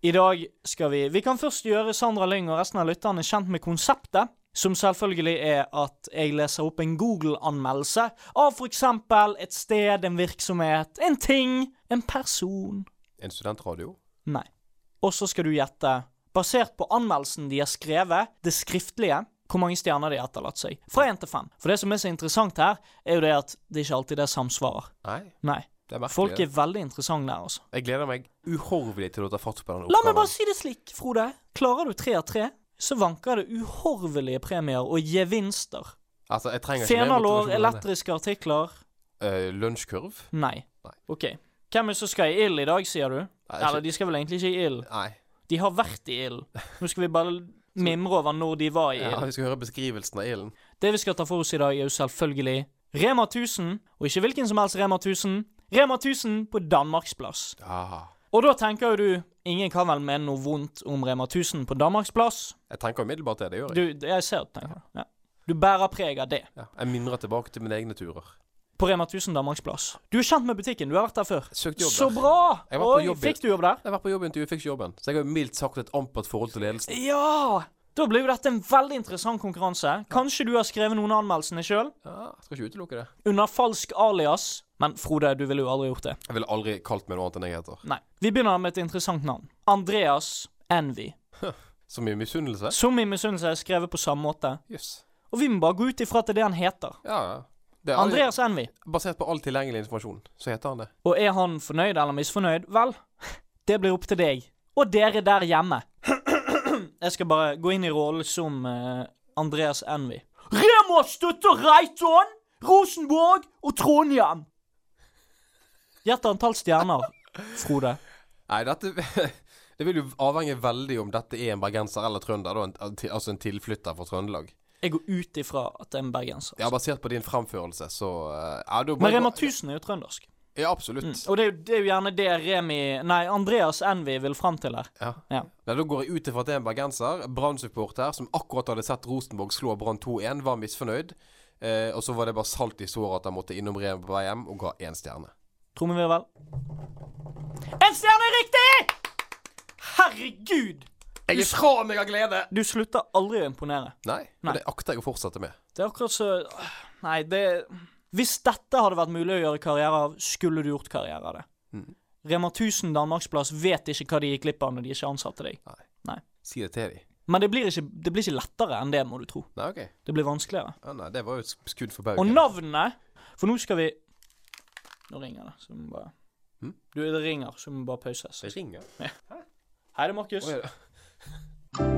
Speaker 3: I dag skal vi Vi kan først gjøre Sandra Lyng og resten av lytterne kjent med konseptet, som selvfølgelig er at jeg leser opp en Google-anmeldelse av for eksempel et sted, en virksomhet, en ting, en person.
Speaker 2: En studentradio?
Speaker 3: Nei. Og så skal du gjette, basert på anmeldelsen de har skrevet, det skriftlige, hvor mange stjerner de har etterlatt seg. Fra én til fem. For det som er så interessant her, er jo det at det ikke alltid det samsvarer.
Speaker 2: Nei,
Speaker 3: Nei.
Speaker 2: det er merkelig.
Speaker 3: Folk
Speaker 2: det.
Speaker 3: er veldig interessante der, altså.
Speaker 2: Jeg gleder meg uhorvelig til å ta fatt på den
Speaker 3: La meg
Speaker 2: oppgaven.
Speaker 3: bare si det slik, Frode. Klarer du tre av tre, så vanker det uhorvelige premier og gevinster.
Speaker 2: Altså, jeg trenger ikke mer
Speaker 3: Fenalår,
Speaker 2: motivasjon enn det.
Speaker 3: elektriske artikler
Speaker 2: Eh, Lunsjkurv?
Speaker 3: Nei.
Speaker 2: Nei.
Speaker 3: OK. Hvem er det som skal i ild i dag, sier du?
Speaker 2: Nei, ikke-
Speaker 3: Eller de skal vel egentlig ikke i ild.
Speaker 2: Nei.
Speaker 3: De har vært i ild. Nå skal vi bare mimre over når de var i
Speaker 2: Ja,
Speaker 3: ild.
Speaker 2: vi skal høre beskrivelsen av ilden.
Speaker 3: Det vi skal ta for oss i dag, er jo selvfølgelig Rema 1000, og ikke hvilken som helst Rema 1000. Rema 1000 på Danmarksplass.
Speaker 2: Ah.
Speaker 3: Og da tenker jo du Ingen kan vel mene noe vondt om Rema 1000 på Danmarksplass?
Speaker 2: Jeg tenker umiddelbart det. Det gjør jeg.
Speaker 3: Du, det- jeg ser det, tenker jeg. Ja. Du bærer preg av det.
Speaker 2: Ja. Jeg mimrer tilbake til mine egne turer.
Speaker 3: På Rema 1000 Danmarksplass. Du er kjent med butikken, du har vært der før.
Speaker 2: Jeg søkte jobb
Speaker 3: Så
Speaker 2: der.
Speaker 3: bra!
Speaker 2: Jeg var på
Speaker 3: Oi,
Speaker 2: jobb,
Speaker 3: fikk du jobb der?
Speaker 2: Jeg har vært på jobbintervju, fikk ikke jobben. Så jeg har jo mildt sagt et ampert forhold til ledelsen.
Speaker 3: Ja! Da ble jo dette en veldig interessant konkurranse. Kanskje du har skrevet noen av anmeldelsene sjøl?
Speaker 2: Ja, jeg skal ikke utelukke det.
Speaker 3: Under falsk alias. Men Frode, du ville jo aldri gjort det.
Speaker 2: Jeg ville aldri kalt meg noe annet enn jeg heter.
Speaker 3: Nei. Vi begynner med et interessant navn. Andreas Envy.
Speaker 2: Så mye misunnelse.
Speaker 3: Som i misunnelse er skrevet på samme måte.
Speaker 2: Jøss.
Speaker 3: Og vi må bare gå ut ifra at det er det han heter.
Speaker 2: Ja, ja. Det er
Speaker 3: Andreas Envy.
Speaker 2: Basert på all tilgjengelig informasjon, så heter han det.
Speaker 3: Og er han fornøyd eller misfornøyd? Vel, det blir opp til deg. Og dere der hjemme. Jeg skal bare gå inn i rollen som eh, Andreas Envy. Rema støtter Reiton, Rosenborg og Trondheim. Gjett antall stjerner, Frode.
Speaker 2: Nei, dette Det vil jo avhenge veldig om dette er en bergenser eller trønder, da. En, altså en tilflytter fra Trøndelag.
Speaker 3: Jeg går ut ifra at det er en bergenser.
Speaker 2: Ja, basert på din fremførelse, så eh, ja, da må
Speaker 3: Men
Speaker 2: jeg
Speaker 3: Rema Mm.
Speaker 2: gå-
Speaker 3: 1000 er jo trøndersk.
Speaker 2: Ja, absolutt.
Speaker 3: Og det er, jo, det er jo gjerne det Remi Nei, Andreas Envy vil fram til her.
Speaker 2: Ja.
Speaker 3: Ja.
Speaker 2: Nei, da går jeg ut ifra at det er en bergenser, Brann-supporter, som akkurat hadde sett Rosenborg slå Brann 2-1, var misfornøyd. Eh, og så var det bare salt i såret at han måtte innom Reven på vei hjem, og ga én stjerne.
Speaker 3: Trommevirvel. En stjerne er riktig! Herregud!
Speaker 2: Jeg er fra meg av glede!
Speaker 3: Du slutter aldri å imponere.
Speaker 2: Nei,
Speaker 3: Nei.
Speaker 2: og det akter jeg å fortsette med.
Speaker 3: Det er akkurat så Nei, det Hvis dette hadde vært mulig å gjøre karriere av, skulle du gjort karriere av det. Rema 1000 Danmarksplass vet ikke hva de gikk glipp av når de ikke ansatte deg.
Speaker 2: Nei.
Speaker 3: Nei.
Speaker 2: Si det til dem.
Speaker 3: Men det blir, ikke, det blir ikke lettere enn det, må du tro.
Speaker 2: Nei, OK.
Speaker 3: Det blir vanskeligere.
Speaker 2: Ja, nei, det var jo et sk- skudd for
Speaker 3: Og
Speaker 2: baugen.
Speaker 3: navnene For nå skal vi Nå ringer det, så vi må bare
Speaker 2: Hm?
Speaker 3: Du, det ringer, så vi må bare pauses.
Speaker 2: Det ringer.
Speaker 3: Hei, det er Markus.
Speaker 2: Oi, da.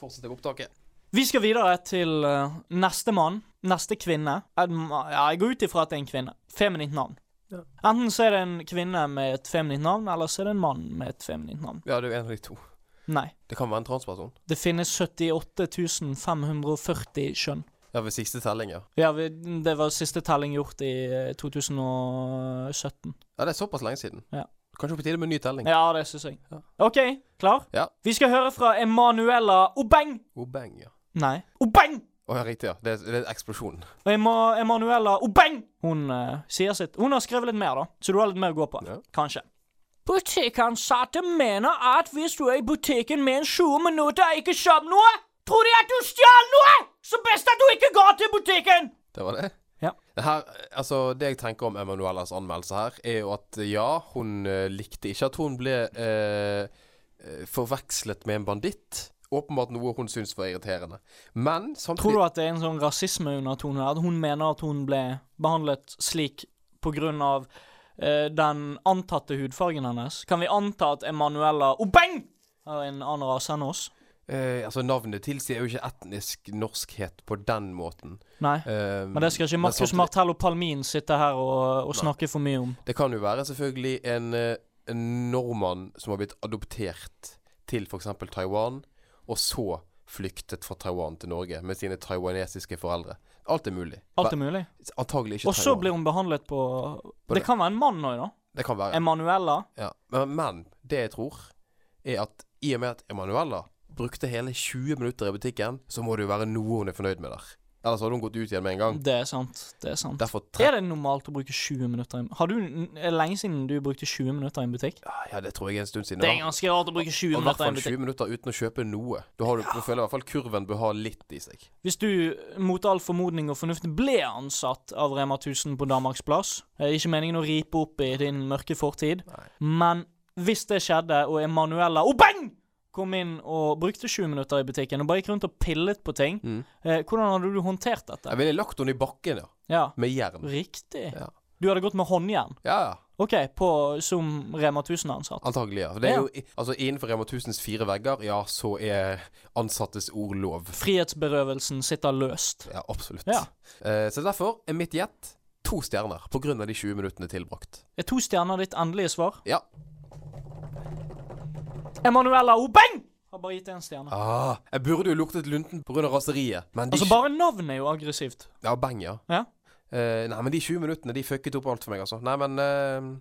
Speaker 2: Fortsett med opptaket.
Speaker 3: Vi skal videre til eh, neste mann. Neste kvinne. En ma- Ja, jeg går ut ifra at det er en kvinne. Feminint navn. Enten så er det en kvinne med et feminint navn, eller så er det en mann med et feminint navn.
Speaker 2: Ja, det er jo en av de to.
Speaker 3: Nei.
Speaker 2: Det kan være en transperson.
Speaker 3: Det finnes 78 540 kjønn.
Speaker 2: Ja, ved siste telling, ja.
Speaker 3: Ja, vi, det var siste telling gjort i eh, 2017.
Speaker 2: Ja, Det er såpass lenge siden.
Speaker 3: Ja.
Speaker 2: Kanskje på tide med ny telling.
Speaker 3: Ja, det syns jeg.
Speaker 2: Ja.
Speaker 3: OK, klar?
Speaker 2: Ja.
Speaker 3: Vi skal høre fra Emanuela Obeng.
Speaker 2: Obeng, Oh, ja.
Speaker 3: Nei. Obeng!
Speaker 2: Å ja, riktig, ja. Det er, det er eksplosjonen.
Speaker 3: Og Ema Emanuela Obeng! Hun eh, sier sitt. Hun har skrevet litt mer, da, så du har litt mer å gå på.
Speaker 2: Ja.
Speaker 3: Kanskje. Butikkansatte mener at hvis du er i butikken med en 20 minutter og ikke kjøper noe, tror de at du stjal noe! Så best at du ikke går til butikken!
Speaker 2: Det var det?
Speaker 3: Ja.
Speaker 2: Det, her, altså, det jeg tenker om Emanuellas anmeldelse her, er jo at ja, hun eh, likte ikke at hun ble eh, eh, forvekslet med en banditt. Åpenbart noe hun syntes var irriterende. Men
Speaker 3: Tror
Speaker 2: samtidig
Speaker 3: du at det er en sånn rasismeundertone? At hun mener at hun ble behandlet slik på grunn av eh, den antatte hudfargen hennes? Kan vi anta at Emanuela Obeng har en annen rase enn oss?
Speaker 2: eh, altså, Navnet tilsier jo ikke etnisk norskhet på den måten.
Speaker 3: Nei.
Speaker 2: Eh,
Speaker 3: Men det skal ikke Marcus
Speaker 2: samtidig-
Speaker 3: Martello Palmin sitte her og, og snakke for mye om.
Speaker 2: Det kan jo være selvfølgelig en, eh, en nordmann som har blitt adoptert til f.eks. Taiwan, og så flyktet fra Taiwan til Norge med sine taiwanesiske foreldre. Alt er mulig.
Speaker 3: Alt er mulig.
Speaker 2: Ba- Antagelig ikke
Speaker 3: Og så
Speaker 2: Taiwan.
Speaker 3: blir hun behandlet på Det
Speaker 2: det-
Speaker 3: kan være en mann òg, da.
Speaker 2: Det kan være.
Speaker 3: Emanuela.
Speaker 2: Ja. Men, men det jeg tror, er at i og med at Emanuella brukte hele 20 minutter i butikken, så må det jo være noe hun er fornøyd med der. Ellers hadde hun gått ut igjen med en gang.
Speaker 3: Det er sant. Det er sant.
Speaker 2: Derfor tre...
Speaker 3: Er det normalt å bruke 20 minutter i Har du, Er det lenge siden du brukte 20 minutter i en butikk?
Speaker 2: Ja, det tror jeg er en stund siden.
Speaker 3: Det er
Speaker 2: da.
Speaker 3: ganske rart å bruke 20
Speaker 2: og i hvert
Speaker 3: minutter i
Speaker 2: fall 20
Speaker 3: en butikk.
Speaker 2: minutter uten å kjøpe noe. Da har du, du føler i hvert fall kurven bør ha litt i seg.
Speaker 3: Hvis du mot all formodning og fornuft ble ansatt av Rema 1000 på Danmarksplass Det er ikke meningen å ripe opp i din mørke fortid, men hvis det skjedde, og Emanuela Obeng kom inn og brukte 20 minutter i butikken og bare gikk rundt og pillet på ting,
Speaker 2: Mm.
Speaker 3: eh, hvordan hadde du håndtert dette?
Speaker 2: Jeg ville lagt henne i bakken, ja.
Speaker 3: Ja,
Speaker 2: Med jern.
Speaker 3: riktig.
Speaker 2: Ja.
Speaker 3: Du hadde gått med håndjern,
Speaker 2: Ja, ja.
Speaker 3: OK, på, som Rema 1000-ansatt.
Speaker 2: Antagelig, ja. Det er jo, altså, innenfor Rema 1000s fire vegger, ja, så er ansattes ord lov.
Speaker 3: Frihetsberøvelsen sitter løst.
Speaker 2: Ja, absolutt.
Speaker 3: Ja.
Speaker 2: Eh, så derfor er mitt gjett to stjerner, på grunn av de 20 minuttene tilbrakt.
Speaker 3: Er to stjerner ditt endelige svar?
Speaker 2: Ja.
Speaker 3: Emanuela Obeng har bare gitt én stjerne.
Speaker 2: Ah, jeg burde jo luktet lunten på grunn av raseriet, men de
Speaker 3: Altså, bare navnet er jo aggressivt.
Speaker 2: Ja, bang, ja.
Speaker 3: Ja.
Speaker 2: Eh, nei, men de 20 minuttene, de fucket opp alt for meg, altså. Nei, men eh,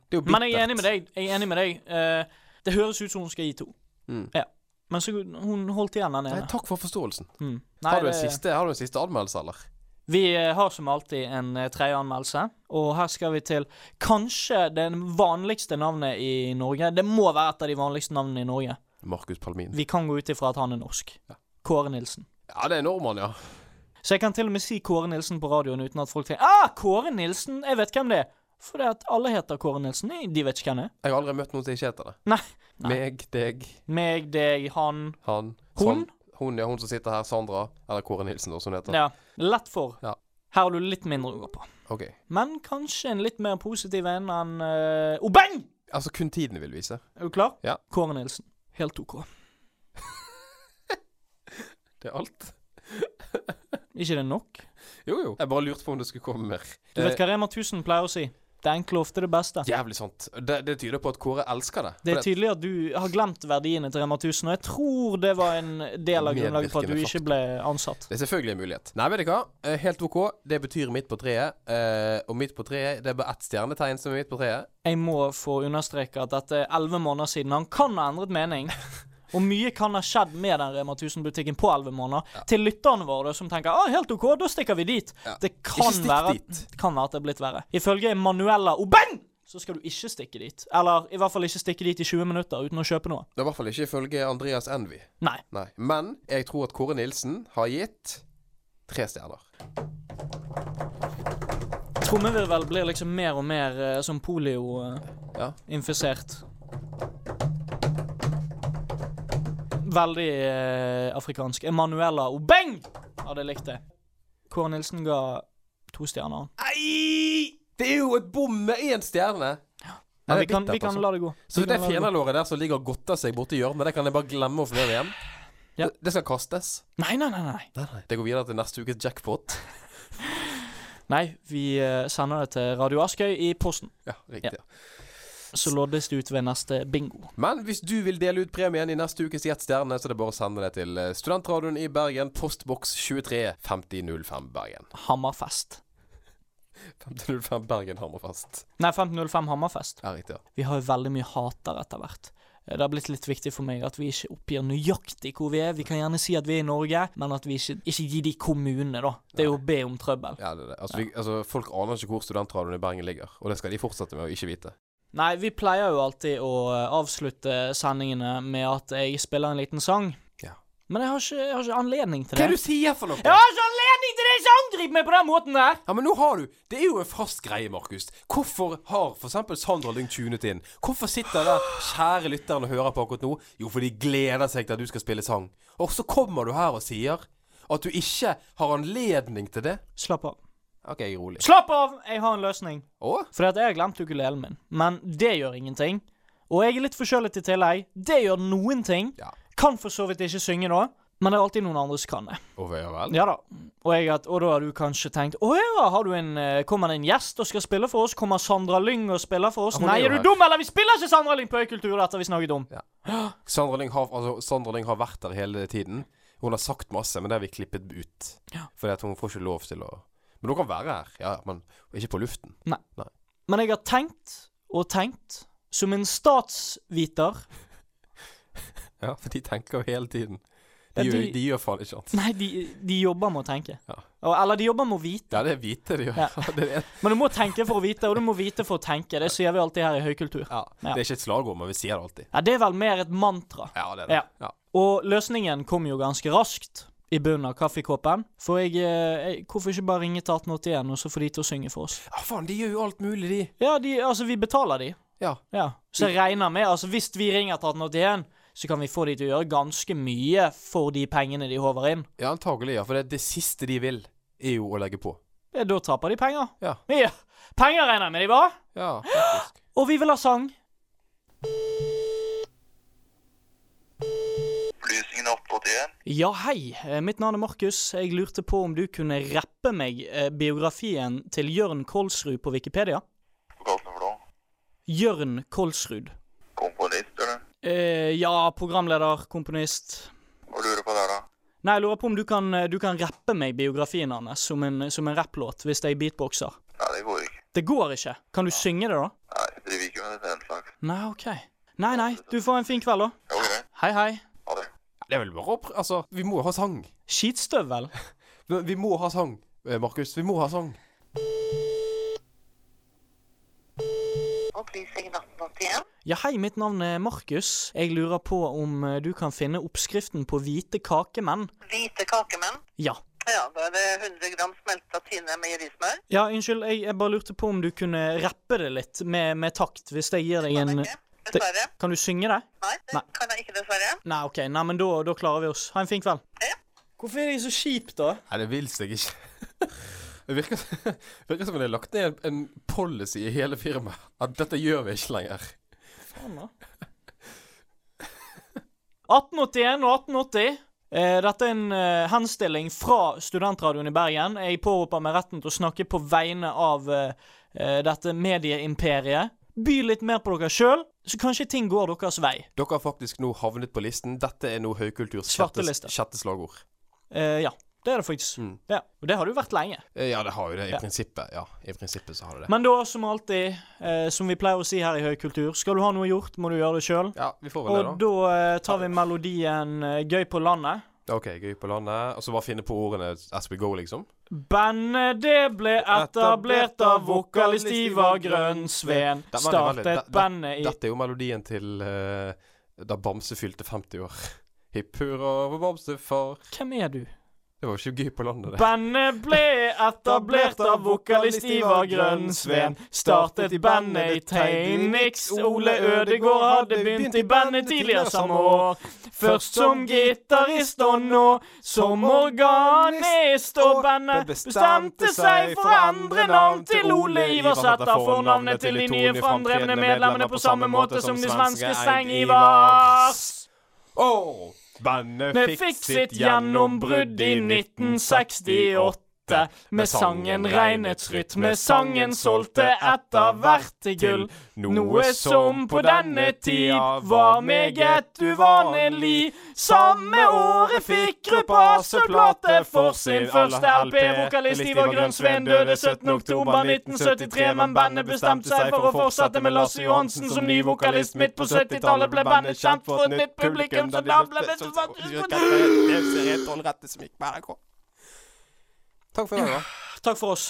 Speaker 2: det er jo bittert.
Speaker 3: Men jeg er enig med deg. Jeg er enig med deg. Eh, det høres ut som hun skal gi to.
Speaker 2: Mm.
Speaker 3: Ja. Men så hun holdt igjen den
Speaker 2: Nei,
Speaker 3: ene.
Speaker 2: takk for forståelsen.
Speaker 3: Mm.
Speaker 2: har, du en
Speaker 3: det-
Speaker 2: siste, har du en siste anmeldelse, eller?
Speaker 3: Vi eh, har som alltid en eh, tredje anmeldelse, og her skal vi til kanskje det vanligste navnet i Norge. Det må være et av de vanligste navnene i Norge.
Speaker 2: Markus Palmin.
Speaker 3: Vi kan gå ut ifra at han er norsk. Kåre Nilsen.
Speaker 2: Ja, det er nordmann, ja.
Speaker 3: Så jeg kan til og med si Kåre Nilsen på radioen uten at folk tenker Ah, Kåre Nilsen! Jeg vet hvem det er. For det at alle heter Kåre Nilsen. Nei, De vet ikke hvem det er.
Speaker 2: Jeg har aldri møtt noen som ikke heter det.
Speaker 3: Nei. Nei.
Speaker 2: Meg, deg,
Speaker 3: Meg, deg, han.
Speaker 2: han
Speaker 3: Hun?
Speaker 2: San- hun, ja, hun som sitter her, Sandra. Eller Kåre Nilsen, da, som hun heter.
Speaker 3: Ja. Lett for.
Speaker 2: Ja.
Speaker 3: Her har du litt mindre å gå på.
Speaker 2: Ok.
Speaker 3: Men kanskje en litt mer positiv en enn eh, Obeng!
Speaker 2: Altså, kun tiden vil vise.
Speaker 3: Er du klar?
Speaker 2: Ja.
Speaker 3: Kåre Nilsen. Helt OK.
Speaker 2: Det er alt.
Speaker 3: Ikke det nok?
Speaker 2: Jo, jo. Jeg bare lurte på om det skulle komme mer. Eh,
Speaker 3: Du vet hva Rema 1000 pleier å si? Det enkle er ofte det beste.
Speaker 2: Jævlig sant. Det, det tyder på at Kåre elsker det.
Speaker 3: Det er
Speaker 2: For
Speaker 3: tydelig at du har glemt verdiene til Rema 1000, og jeg tror det var en del av grunnlaget for at du
Speaker 2: Medvirkende
Speaker 3: ikke ble ansatt.
Speaker 2: det er selvfølgelig en mulighet. Nei, vet du hva? Eh, Helt OK. Det betyr midt på treet. eh, Og midt på treet Det er bare ett stjernetegn som er midt på treet.
Speaker 3: Jeg må få understreke at dette er elleve måneder siden. Han kan ha endret mening. Og mye kan ha skjedd med den Rema 1000-butikken på elleve måneder. Til lytterne våre som tenker ah, helt OK, da stikker vi dit. Det kan
Speaker 2: Ikke stikk
Speaker 3: være,
Speaker 2: dit.
Speaker 3: kan være at det er blitt verre. Ifølge Manuela Obeng så skal du ikke stikke dit. Eller i hvert fall ikke stikke dit i 20 minutter uten å kjøpe noe.
Speaker 2: Det er i hvert fall ikke ifølge Andreas Envy.
Speaker 3: Nei.
Speaker 2: Nei. Men jeg tror at Kåre Nilsen har gitt tre stjerner.
Speaker 3: Trommevirvel blir liksom mer og mer eh, som
Speaker 2: Ja.
Speaker 3: polio-infisert. Veldig eh, afrikansk. Emanuela Obeng hadde likt det. Kåre Nilsen ga to stjerner. han.
Speaker 2: Nei! Det er jo et bom med én stjerne!
Speaker 3: Men
Speaker 2: det
Speaker 3: vi
Speaker 2: er
Speaker 3: kan,
Speaker 2: bittert,
Speaker 3: vi kan
Speaker 2: altså.
Speaker 3: la det gå.
Speaker 2: Så
Speaker 3: Vi
Speaker 2: det
Speaker 3: kan la gå.
Speaker 2: fjenalåret der som ligger og godter seg borti hjørnet, det kan jeg bare glemme å få med meg hjem?
Speaker 3: Ja.
Speaker 2: Det, det skal kastes.
Speaker 3: Nei, nei, nei. Nei,
Speaker 2: Det går videre til neste ukes jackpot.
Speaker 3: nei vi eh, sender det til Radio Askøy i posten.
Speaker 2: Ja, riktig.
Speaker 3: Så loddes det ut ved neste bingo.
Speaker 2: Men hvis du vil dele ut premien i neste ukes Gjett stjerne, så er det bare å sende det til eh, Studentradioen i Bergen, postboks 23 5005 Bergen.
Speaker 3: Hammerfest.
Speaker 2: 5005 Bergen Hammerfest.
Speaker 3: Nei, 1505 Hammerfest.
Speaker 2: Ja, riktig. ja.
Speaker 3: Vi har jo veldig mye hater etter hvert. Eh, Det har blitt litt viktig for meg at vi ikke oppgir nøyaktig hvor vi er. Vi kan gjerne si at vi er i Norge, men at vi ikke, ikke gir de kommunene, da. Det er jo å be om trøbbel.
Speaker 2: ja det er det. Altså, vi, altså, folk aner ikke hvor Studentradioen i Bergen ligger, og det skal de fortsette med å ikke vite.
Speaker 3: Nei, vi pleier jo alltid å eh, avslutte sendingene med at jeg spiller en liten sang.
Speaker 2: Ja.
Speaker 3: Men jeg har ikke, jeg har ikke anledning til det.
Speaker 2: sier for noe?
Speaker 3: Jeg har ikke anledning til det! Ikke angrip meg på den måten der!
Speaker 2: Ja, men nå har du Det er jo en fast greie, Markus. Hvorfor har f.eks. Sandra Lyng tunet inn? Hvorfor sitter der kjære lytteren og hører på akkurat nå? Jo, for de gleder seg til at du skal spille sang. Og så kommer du her og sier at du ikke har anledning til det.
Speaker 3: Slapp av.
Speaker 2: OK, jeg er rolig.
Speaker 3: Slapp av! Jeg har en løsning.
Speaker 2: Å?
Speaker 3: Fordi at jeg har glemt ukulelen min. Men det gjør ingenting. Og jeg er litt forkjølet i tillegg. Det gjør noen ting.
Speaker 2: Ja.
Speaker 3: Kan for så vidt ikke synge nå, men det er alltid noen andre som kan det.
Speaker 2: Å ja vel?
Speaker 3: Ja da. Og, jeg, at- og da har du kanskje tenkt Å ja, har du en, eh, kommer det en gjest og skal spille for oss? Kommer Sandra Lyng og spiller for oss?
Speaker 2: Ja, hun er
Speaker 3: Nei,
Speaker 2: jo
Speaker 3: er du
Speaker 2: her.
Speaker 3: dum, eller? Vi spiller ikke Sandra Lyng på Øykultur, dette har vi snakket om.
Speaker 2: Sandra Lyng har, altså, Sandra Lyng har vært der hele tiden. Hun har sagt masse, men det har vi klippet ut.
Speaker 3: Ja.
Speaker 2: Fordi at hun får ikke lov til å Men hun kan være her, ja, ja, men ikke på luften.
Speaker 3: Men jeg har tenkt og tenkt, som en statsviter
Speaker 2: Ja, for de tenker jo hele tiden.
Speaker 3: Ja,
Speaker 2: De, gjør,
Speaker 3: de-
Speaker 2: de gjør faen ikke annet.
Speaker 3: Nei, de, de jobber med å tenke.
Speaker 2: Ja.
Speaker 3: Og- Eller de jobber med å vite.
Speaker 2: Ja, det er hvite de gjør.
Speaker 3: Ja.
Speaker 2: Det er
Speaker 3: Men du må tenke for å vite, og du må vite for å tenke. Det sier vi alltid her i Høykultur.
Speaker 2: Ja. Det er ikke et slagord, men vi sier det alltid.
Speaker 3: Ja, det er vel mer et mantra.
Speaker 2: Ja, det er
Speaker 3: det.
Speaker 2: det.
Speaker 3: Ja. Og løsningen kom jo ganske raskt i bunnen av kaffekoppen. For jeg, eh, jeg Hvorfor ikke bare ringe til 1881, og så få de til å synge for oss?
Speaker 2: faen, de gjør jo alt mulig, de.
Speaker 3: Ja, de, altså, vi betaler de.
Speaker 2: Ja.
Speaker 3: Ja. Så jeg regner med Altså, hvis vi ringer til 1881, så kan vi få de til å gjøre ganske mye for de pengene de håver inn.
Speaker 2: ja, antagelig, ja. For det, det siste de vil, er jo å legge på.
Speaker 3: Ja, da taper de penger.
Speaker 2: Ja.
Speaker 3: ja. Penger regner jeg med de var.
Speaker 2: Ja, faktisk.
Speaker 3: Og vi vil ha sang.
Speaker 8: Opplysningene 881.
Speaker 3: Ja, hei. Eh, Mitt navn er Markus. Jeg lurte på om du kunne rappe meg eh, biografien til Jørn Kolsrud på Wikipedia.
Speaker 8: Hva kalte du for noe?
Speaker 3: Jørn Kolsrud.
Speaker 8: Komponist, eller?
Speaker 3: Eh, ja, programleder, komponist.
Speaker 8: Hva lurer du på der, da?
Speaker 3: Nei, jeg lurer på om du kan, eh, du kan rappe meg biografien hans som en, som en rapplåt, hvis jeg beatboxer.
Speaker 8: Nei, det går ikke.
Speaker 3: Det går ikke. Kan du synge det, da?
Speaker 8: Nei, jeg driver ikke med den slags.
Speaker 3: Nei, OK. Nei, nei. Du får en fin kveld, da.
Speaker 8: Ok,
Speaker 3: Hei, hei.
Speaker 8: ha det.
Speaker 2: Det er vel bare å pr... Altså, vi må ha sang.
Speaker 3: Skitstøvel.
Speaker 2: Vi, vi må ha sang, eh, Markus. Vi må ha sang.
Speaker 6: Opplysningen 1881.
Speaker 3: Ja, hei, mitt navn er Markus. Jeg lurer på om eh, du kan finne oppskriften på hvite kakemenn.
Speaker 6: Hvite kakemenn.
Speaker 3: Ja.
Speaker 6: Ja, da er det 100 gram smelta tine meierismør.
Speaker 3: Ja, unnskyld, jeg, jeg bare lurte på om du kunne rappe det litt med, med takt, hvis jeg gir deg en
Speaker 6: Dessverre.
Speaker 3: Kan du synge det?
Speaker 6: Nei, det
Speaker 3: Nei.
Speaker 6: kan jeg ikke, dessverre.
Speaker 3: Nei, OK, nei, men da, da klarer vi oss. Ha en fin kveld. Hvorfor er de så kjipe, da?
Speaker 2: Nei, det vil seg ikke. Det virker, det virker som om det er lagt ned en, en policy i hele firmaet. At dette gjør vi ikke lenger.
Speaker 3: Faen, da. 1881 og 1880. Eh, dette er en eh, henstilling fra Studentradioen i Bergen. Jeg påroper meg retten til å snakke på vegne av eh, eh, dette medieimperiet. By litt mer på dere sjøl, så kanskje ting går deres vei.
Speaker 2: Dere har faktisk nå havnet på listen. Dette er nå Høykulturs
Speaker 3: Svarte
Speaker 2: sjette,
Speaker 3: liste.
Speaker 2: sjette slagord.
Speaker 3: Eh, ja, det er det faktisk.
Speaker 2: Mm.
Speaker 3: Ja, og det har det jo vært lenge.
Speaker 2: Eh, Ja, det har jo det. I
Speaker 3: Ja.
Speaker 2: prinsippet ja, i prinsippet så har det det.
Speaker 3: Men da, som alltid, eh, som vi pleier å si her i Høykultur, skal du ha noe gjort, må du gjøre det sjøl.
Speaker 2: Ja, vi får vel
Speaker 3: Og
Speaker 2: det,
Speaker 3: da eh, tar vi melodien eh, Gøy på landet.
Speaker 2: da. OK, gøy på landet. Og så bare finne på ordene as we go, liksom.
Speaker 3: Bandet det ble etablert av vokalist Ivar Grønsveen.
Speaker 2: Da var det veldig- da-
Speaker 3: Startet
Speaker 2: da-
Speaker 3: bandet i
Speaker 2: Dette er jo melodien til eh, da Bamse fylte 50 år. Hipp hurra for Bamsefar.
Speaker 3: Hvem er du?
Speaker 2: Det var jo ikke gøy på landet, det.
Speaker 3: Bandet ble etablert av vokalist Ivar Grønsveen. Startet bandet i Teinix. Ole Ødegård hadde begynt i bandet tidligere samme år. Først som gitarist og nå som organist. Og bandet bestemte seg for å endre navn til Ole Ivarsæter. Fornavnet til de nye framdrevne medlemmene på samme måte som de svenske Seng-Ivars.
Speaker 2: Åh, bandet
Speaker 3: Bandet fikk sitt gjennombrudd i 1968 med sangen Regnets rytme. Sangen solgte etter hvert til gull. Noe som på denne tid var meget uvanlig. Samme året fikk gruppa Asseplate for sin første LP. Vokalist Ivar Grønsveen døde 17. oktober 1973, men bandet bestemte seg for å fortsette med Lasse Johansen som ny vokalist. Midt på 70-tallet ble bandet kjent for et nytt publikum, så da ble det
Speaker 2: Takk for i dag, da.
Speaker 3: Takk for oss.